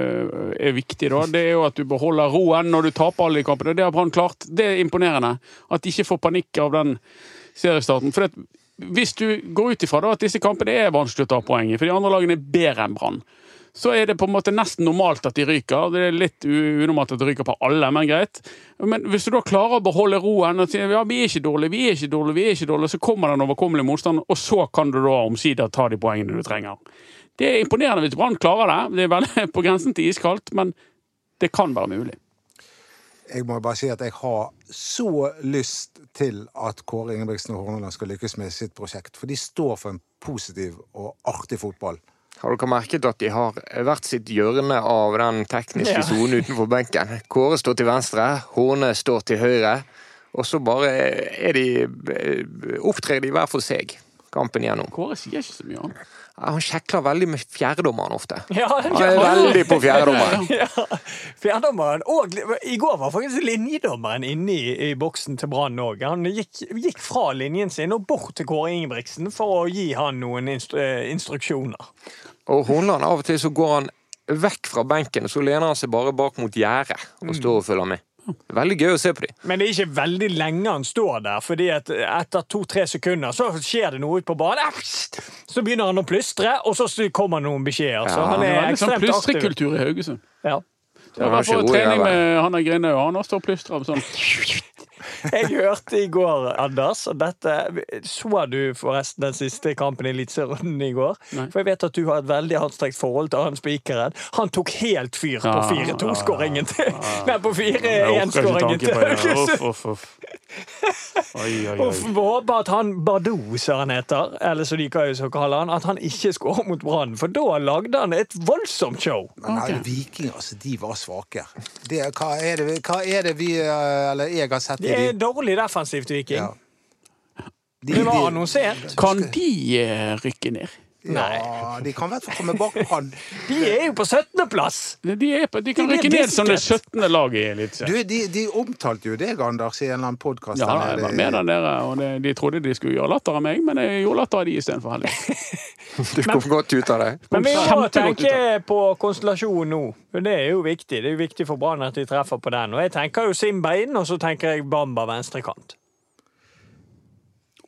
Speaker 5: eh, er viktig, da, det er jo at du beholder roen når du taper alle de kampene. Det har Brann klart. Det er imponerende. At de ikke får panikk av den seriestarten. For det, hvis du går ut ifra da, at disse kampene er vanskelig å ta poeng i, for de andre lagene er bedre enn Brann, så er det på en måte nesten normalt at de ryker. Det er litt u- unormalt at de ryker på alle, men greit. Men hvis du da klarer å beholde roen og sier ja, vi er ikke dårlige, vi er ikke dårlige, vi er ikke dårlige, så kommer det en overkommelig motstand, og så kan du da omsider ta de poengene du trenger. Det er imponerende hvis Brann klarer det. Det er veldig <laughs> på grensen til iskaldt, men det kan være mulig.
Speaker 3: Jeg må bare si at jeg har så lyst til at Kåre Ingebrigtsen og Horneland skal lykkes med sitt prosjekt. For de står for en positiv og artig fotball.
Speaker 2: Har dere merket at de har hvert sitt hjørne av den tekniske
Speaker 4: Ja.
Speaker 2: sonen utenfor benken? Kåre står til venstre, Horne står til høyre, og så bare er eh, de, opptrer de hver for seg. kampen igjennom.
Speaker 5: Kåre sier ikke så mye annet.
Speaker 2: Ja, Han sjekler veldig med fjerdedommeren ofte.
Speaker 4: Ja,
Speaker 2: Han er veldig på fjerdedommeren.
Speaker 4: <laughs> Ja, Fjerdommeren og I går var faktisk linjedommeren inne i, i boksen til Brann òg. Han gikk, gikk fra linjen sin og bort til Kåre Ingebrigtsen for å gi han noen instru, eh, instruksjoner.
Speaker 2: Og Hornland, av og til så går han vekk fra benken, så lener han seg bare bak mot gjerdet
Speaker 4: Mm.
Speaker 2: og står og følger med. Veldig gøy å se på de.
Speaker 4: Men det er ikke veldig lenge han står der, fordi at etter to-tre sekunder så skjer det noe ute på banen. Æsj! Så begynner han å plystre, og så kommer noen beskjeder. Så
Speaker 2: Ja,
Speaker 4: han
Speaker 5: Det
Speaker 4: er
Speaker 5: er litt sånn
Speaker 4: ekstremt aktiv.
Speaker 5: plystrekultur i Haugesund.
Speaker 4: Ja. <laughs>
Speaker 5: Det har vært
Speaker 2: ikke
Speaker 5: på
Speaker 2: ord i
Speaker 5: trening
Speaker 2: det,
Speaker 5: med han der Grine, og han har stått og plystra med sånn.
Speaker 4: Jeg hørte i går, Anders, og dette så du forresten den siste kampen i Eliteserien i går.
Speaker 5: Nei.
Speaker 4: For jeg vet at du har et veldig anstrengt forhold til han spikeren. Han tok helt fyr på
Speaker 5: Ja,
Speaker 4: 4-2-skåringen til Nei, på
Speaker 5: Jeg orker ikke
Speaker 4: 4-1-skåringen
Speaker 5: tanke
Speaker 4: til
Speaker 5: på det.
Speaker 4: Haugesund.
Speaker 5: Uff, uff, uff. Oi, oi,
Speaker 4: Uff,
Speaker 5: oi.
Speaker 4: vi håper at han Bardot, som han heter, eller som de kan så kalle han, at han ikke skårer mot Brann, for da lagde han et voldsomt show.
Speaker 3: Men nei, Viking, altså, de var svake. Det, hva, er det, hva er det vi eh, Eller jeg har sett i
Speaker 4: Det er
Speaker 3: de?
Speaker 4: dårlig defensivt, Viking.
Speaker 3: Ja. De-
Speaker 4: Det var
Speaker 3: de-
Speaker 4: annonsert.
Speaker 5: Kan de eh, rykke ned?
Speaker 3: Ja, de kan i hvert fall komme bak
Speaker 4: <laughs>
Speaker 3: han.
Speaker 4: De er jo på 17.-plass!
Speaker 5: De, er på, de kan
Speaker 4: De blir
Speaker 5: rykke ned som det
Speaker 4: disket.
Speaker 5: 17. laget i Eliteserien.
Speaker 3: Du, de, de omtalte jo deg, Anders, i en eller annen podkast.
Speaker 5: Ja, jeg var med den der, og det, de trodde de skulle gjøre latter av meg, men jeg gjorde latter av de istedenfor.
Speaker 3: <laughs>
Speaker 2: Du kom godt ut av <laughs> det.
Speaker 4: Men vi må
Speaker 5: Kjempegodt
Speaker 4: tenke
Speaker 5: uttak.
Speaker 4: på konstellasjon nå. Det er jo viktig. Det er jo viktig for Brann at de treffer på den. Og jeg tenker jo Simba inn, og så tenker jeg Bamba venstrekant.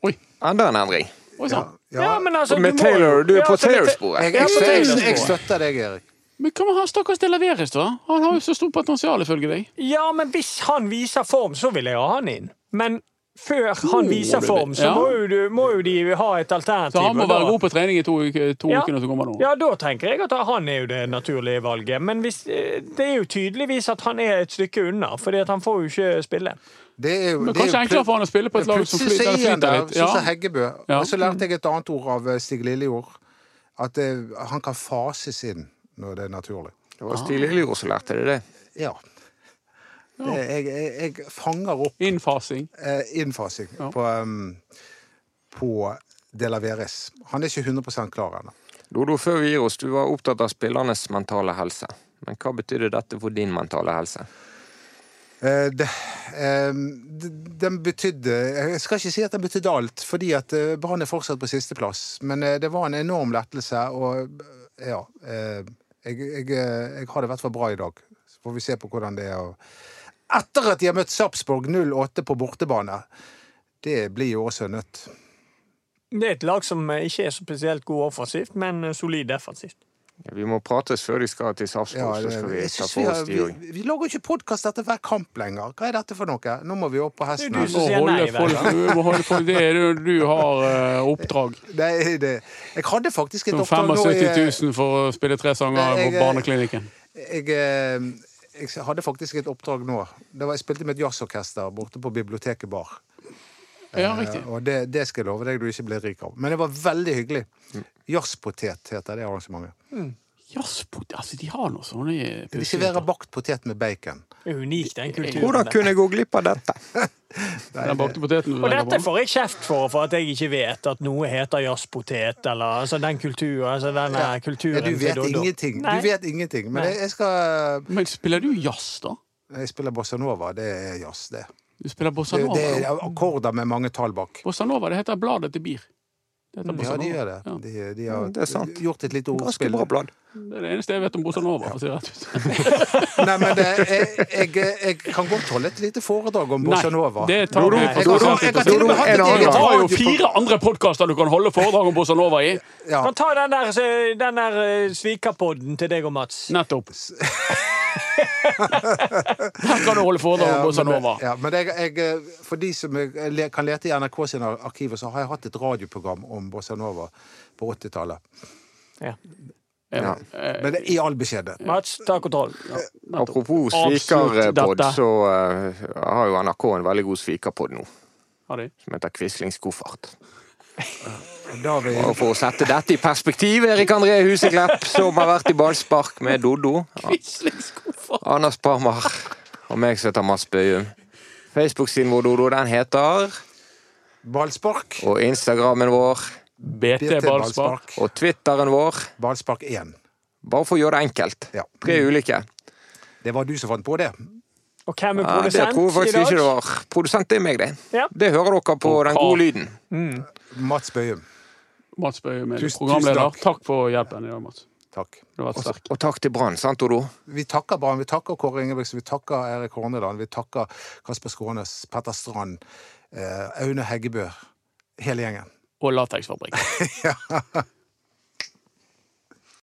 Speaker 5: Oi,
Speaker 2: Enda en endring.
Speaker 5: oi sann.
Speaker 3: Ja.
Speaker 4: men altså,
Speaker 2: Med
Speaker 4: må jo-
Speaker 2: Taylor, du er
Speaker 4: Ja,
Speaker 2: på
Speaker 4: altså, med Ta-
Speaker 2: Taylor-sporet.
Speaker 3: Jeg,
Speaker 4: Ja,
Speaker 3: jeg,
Speaker 4: på
Speaker 3: jeg, jeg,
Speaker 4: Taylor-sporet.
Speaker 3: støtter deg, Erik.
Speaker 5: Men hva med han stakkars De Laveres, da? Han har jo så stort potensial, ifølge deg.
Speaker 4: Ja, men hvis han viser form, så vil jeg ha han inn. Men før han
Speaker 5: Må
Speaker 4: viser
Speaker 5: du Oh, det?
Speaker 4: form, så
Speaker 5: Ja.
Speaker 4: må jo, du, må jo de ha et alternativ.
Speaker 5: Så han må
Speaker 4: og da-
Speaker 5: være god på trening i to, uker, to
Speaker 4: Ja.
Speaker 5: ukene som kommer nå.
Speaker 4: Ja, da tenker jeg at han er jo det naturlige valget. Men hvis, eh, det er jo tydeligvis at han er et stykke unna, fordi at han får jo ikke spille.
Speaker 3: Det er jo,
Speaker 5: Men
Speaker 3: det er jo
Speaker 5: kanskje enklere for han å spille på et lag som
Speaker 3: Plutselig så
Speaker 5: flyter,
Speaker 3: er han
Speaker 5: flyter
Speaker 3: der,
Speaker 5: litt.
Speaker 3: sånn som
Speaker 5: Ja.
Speaker 3: Heggebø.
Speaker 5: Ja.
Speaker 3: Og så lærte jeg et annet ord av eh, Stig Lillejord. At eh, han kan fases inn når det er naturlig.
Speaker 2: Det var Stig Lillejord som lærte det, det.
Speaker 3: Ja. Det- Jeg, jeg, jeg fanger opp
Speaker 5: Innfasing.
Speaker 3: eh, innfasing
Speaker 5: Ja.
Speaker 3: på, um, på De La Veres. Han er ikke 100 klar ennå.
Speaker 2: Dodo, før vi gir oss, du var opptatt av spillernes mentale helse. Men hva betydde dette for din mentale helse?
Speaker 3: Eh, det- eh, d- Den betydde Jeg skal ikke si at den betydde alt, fordi at eh, Brann er fortsatt på sisteplass. Men eh, det var en enorm lettelse, og eh, ja eh, Jeg, jeg, eh, jeg har det i hvert fall bra i dag. Så får vi se på hvordan det er. å- Etter at de har møtt Sarpsborg 08 på bortebane. Det blir jo også nødt.
Speaker 4: Det er et lag som eh, ikke er så spesielt god offensivt, men eh, solid defensivt.
Speaker 2: Vi må prates før de skal til
Speaker 3: Ja,
Speaker 2: Sarpsborg, så skal vi
Speaker 3: jeg
Speaker 2: ta
Speaker 3: synes vi,
Speaker 2: for oss
Speaker 3: har,
Speaker 2: de òg.
Speaker 3: vi, vi lager jo ikke podkast etter hver kamp lenger. Hva er dette for noe? Nå må vi opp på hesten.
Speaker 4: Det er du
Speaker 5: Du
Speaker 3: her.
Speaker 4: som-
Speaker 5: må
Speaker 4: sier nei
Speaker 5: holde
Speaker 4: hver
Speaker 5: folk,
Speaker 4: gang.
Speaker 5: du må holde folk Det er du, du har eh,
Speaker 3: <laughs>
Speaker 5: oppdrag.
Speaker 3: Nei, det, jeg hadde faktisk et
Speaker 5: Som
Speaker 3: oppdrag nå
Speaker 5: 75
Speaker 3: i-
Speaker 5: 000 for å spille tre sanger
Speaker 3: Nei,
Speaker 5: på
Speaker 3: jeg-
Speaker 5: Barneklinikken.
Speaker 3: jeg, eh, jeg hadde faktisk et oppdrag nå. Det var, jeg spilte med et jazzorkester borte på Biblioteket Bar.
Speaker 5: Ja, riktig.
Speaker 3: Eh, Og det, det skal jeg love deg du ikke blir rik av. Men det var veldig hyggelig. Jazzpotet heter det arrangementet.
Speaker 5: Jazzpot Altså, de har noe sånne
Speaker 3: De serverer bakt potet med bacon.
Speaker 4: Det er unikt, den kulturen.
Speaker 2: Hvordan
Speaker 4: der.
Speaker 2: kunne jeg gå glipp av dette?
Speaker 5: Den bakte poteten du
Speaker 4: Og
Speaker 5: legger
Speaker 4: dette
Speaker 5: på.
Speaker 4: får jeg kjeft for, for at jeg ikke vet at noe heter jazzpotet, eller altså den kulturen, altså denne
Speaker 3: Ja,
Speaker 4: kulturen
Speaker 3: du vet
Speaker 4: til Doddo.
Speaker 3: ingenting.
Speaker 4: Nei.
Speaker 3: Du vet ingenting. Men
Speaker 4: Nei.
Speaker 3: jeg, jeg skal
Speaker 5: Men spiller du jazz, da?
Speaker 3: Jeg spiller bossa nova. Det er jazz, det.
Speaker 5: Du spiller bossa
Speaker 3: Det,
Speaker 5: nova?
Speaker 3: det er
Speaker 5: da?
Speaker 3: akkorder med mange tall bak.
Speaker 5: Bossa nova, det heter bladet til bier. Det heter bossa
Speaker 3: Ja, de
Speaker 5: nova.
Speaker 3: gjør det.
Speaker 5: Ja.
Speaker 3: De, de har
Speaker 2: Ja, det er sant.
Speaker 3: gjort et lite
Speaker 2: Ganske
Speaker 3: ordspill. <laughs>
Speaker 2: bra blad.
Speaker 5: Det er det eneste jeg vet om bossa nova. for å si det rett ut.
Speaker 3: Nei, men det, jeg, jeg, jeg kan godt holde et lite foredrag om <laughs> bossa nova.
Speaker 5: det tar
Speaker 2: Dodo,
Speaker 5: vi
Speaker 2: Dodo,
Speaker 5: for
Speaker 3: Dodo,
Speaker 5: sannsynlig
Speaker 3: jeg kan til
Speaker 5: til å
Speaker 3: og med
Speaker 5: si.
Speaker 3: ha et
Speaker 2: en annen
Speaker 3: eget
Speaker 5: Du
Speaker 2: gang.
Speaker 5: har jo
Speaker 3: radio-
Speaker 5: fire andre podkaster du kan holde foredrag om bossa nova
Speaker 3: <laughs>
Speaker 5: i.
Speaker 3: Ja.
Speaker 4: Kan ta den der, eh, den der eh, svikerpodden til deg og Mats.
Speaker 5: Nettopp. <laughs> Her kan du holde foredrag om bossa
Speaker 3: men,
Speaker 5: nova.
Speaker 3: ja, men jeg, jeg, eh, for de som jeg le- kan lete i NRK sine arkiver, så har jeg hatt et radioprogram om bossa nova på 80-tallet.
Speaker 4: Ja.
Speaker 5: Ja.
Speaker 3: Men det er i all beskjedenhet.
Speaker 4: Mats, ta kontroll.
Speaker 2: Apropos
Speaker 5: Avslutt
Speaker 2: svikerpod,
Speaker 5: dette.
Speaker 2: så eh, har jo NRK en veldig god svikerpod nå,
Speaker 5: Har de?
Speaker 2: som heter Quislings koffert.
Speaker 3: Da har vi
Speaker 2: Og for å sette dette i perspektiv, Erik André Huseklepp, som har vært i ballspark med Doddo,
Speaker 5: Quislingskoffer.
Speaker 2: Anders Parmar og meg som heter Mats Bøyum. Facebook-siden vår, Dodo, den heter
Speaker 3: ballspark.
Speaker 2: Og Instagrammen vår
Speaker 5: BT Ballspark.
Speaker 2: Og Twitteren vår,
Speaker 3: Ballspark 1.
Speaker 2: bare for å gjøre det enkelt.
Speaker 3: Ja.
Speaker 2: Tre ulike.
Speaker 3: Det var du som fant på det.
Speaker 4: Og hvem er
Speaker 2: Ja, det
Speaker 4: produsent
Speaker 2: tror jeg
Speaker 4: i
Speaker 2: faktisk
Speaker 4: dag?
Speaker 2: ikke det var. Produsent er meg, det.
Speaker 4: Ja.
Speaker 2: Det hører dere på den gode lyden.
Speaker 3: Mats Bøhum.
Speaker 5: Mats Bøhum er
Speaker 3: Tusen-
Speaker 5: programleder.
Speaker 3: tusen takk.
Speaker 5: Takk for hjelpen i dag, Mats.
Speaker 3: Takk.
Speaker 5: Du har vært sterk.
Speaker 2: Og takk til Brann, sant, Odo?
Speaker 3: Vi takker Brann, vi takker Kåre Ingebrigtsen, vi takker Erik Horneland, vi takker Kasper Skånes, Petter Strand, eh, Aune Heggebø. Hele gjengen.
Speaker 5: Og lateksfabrikk.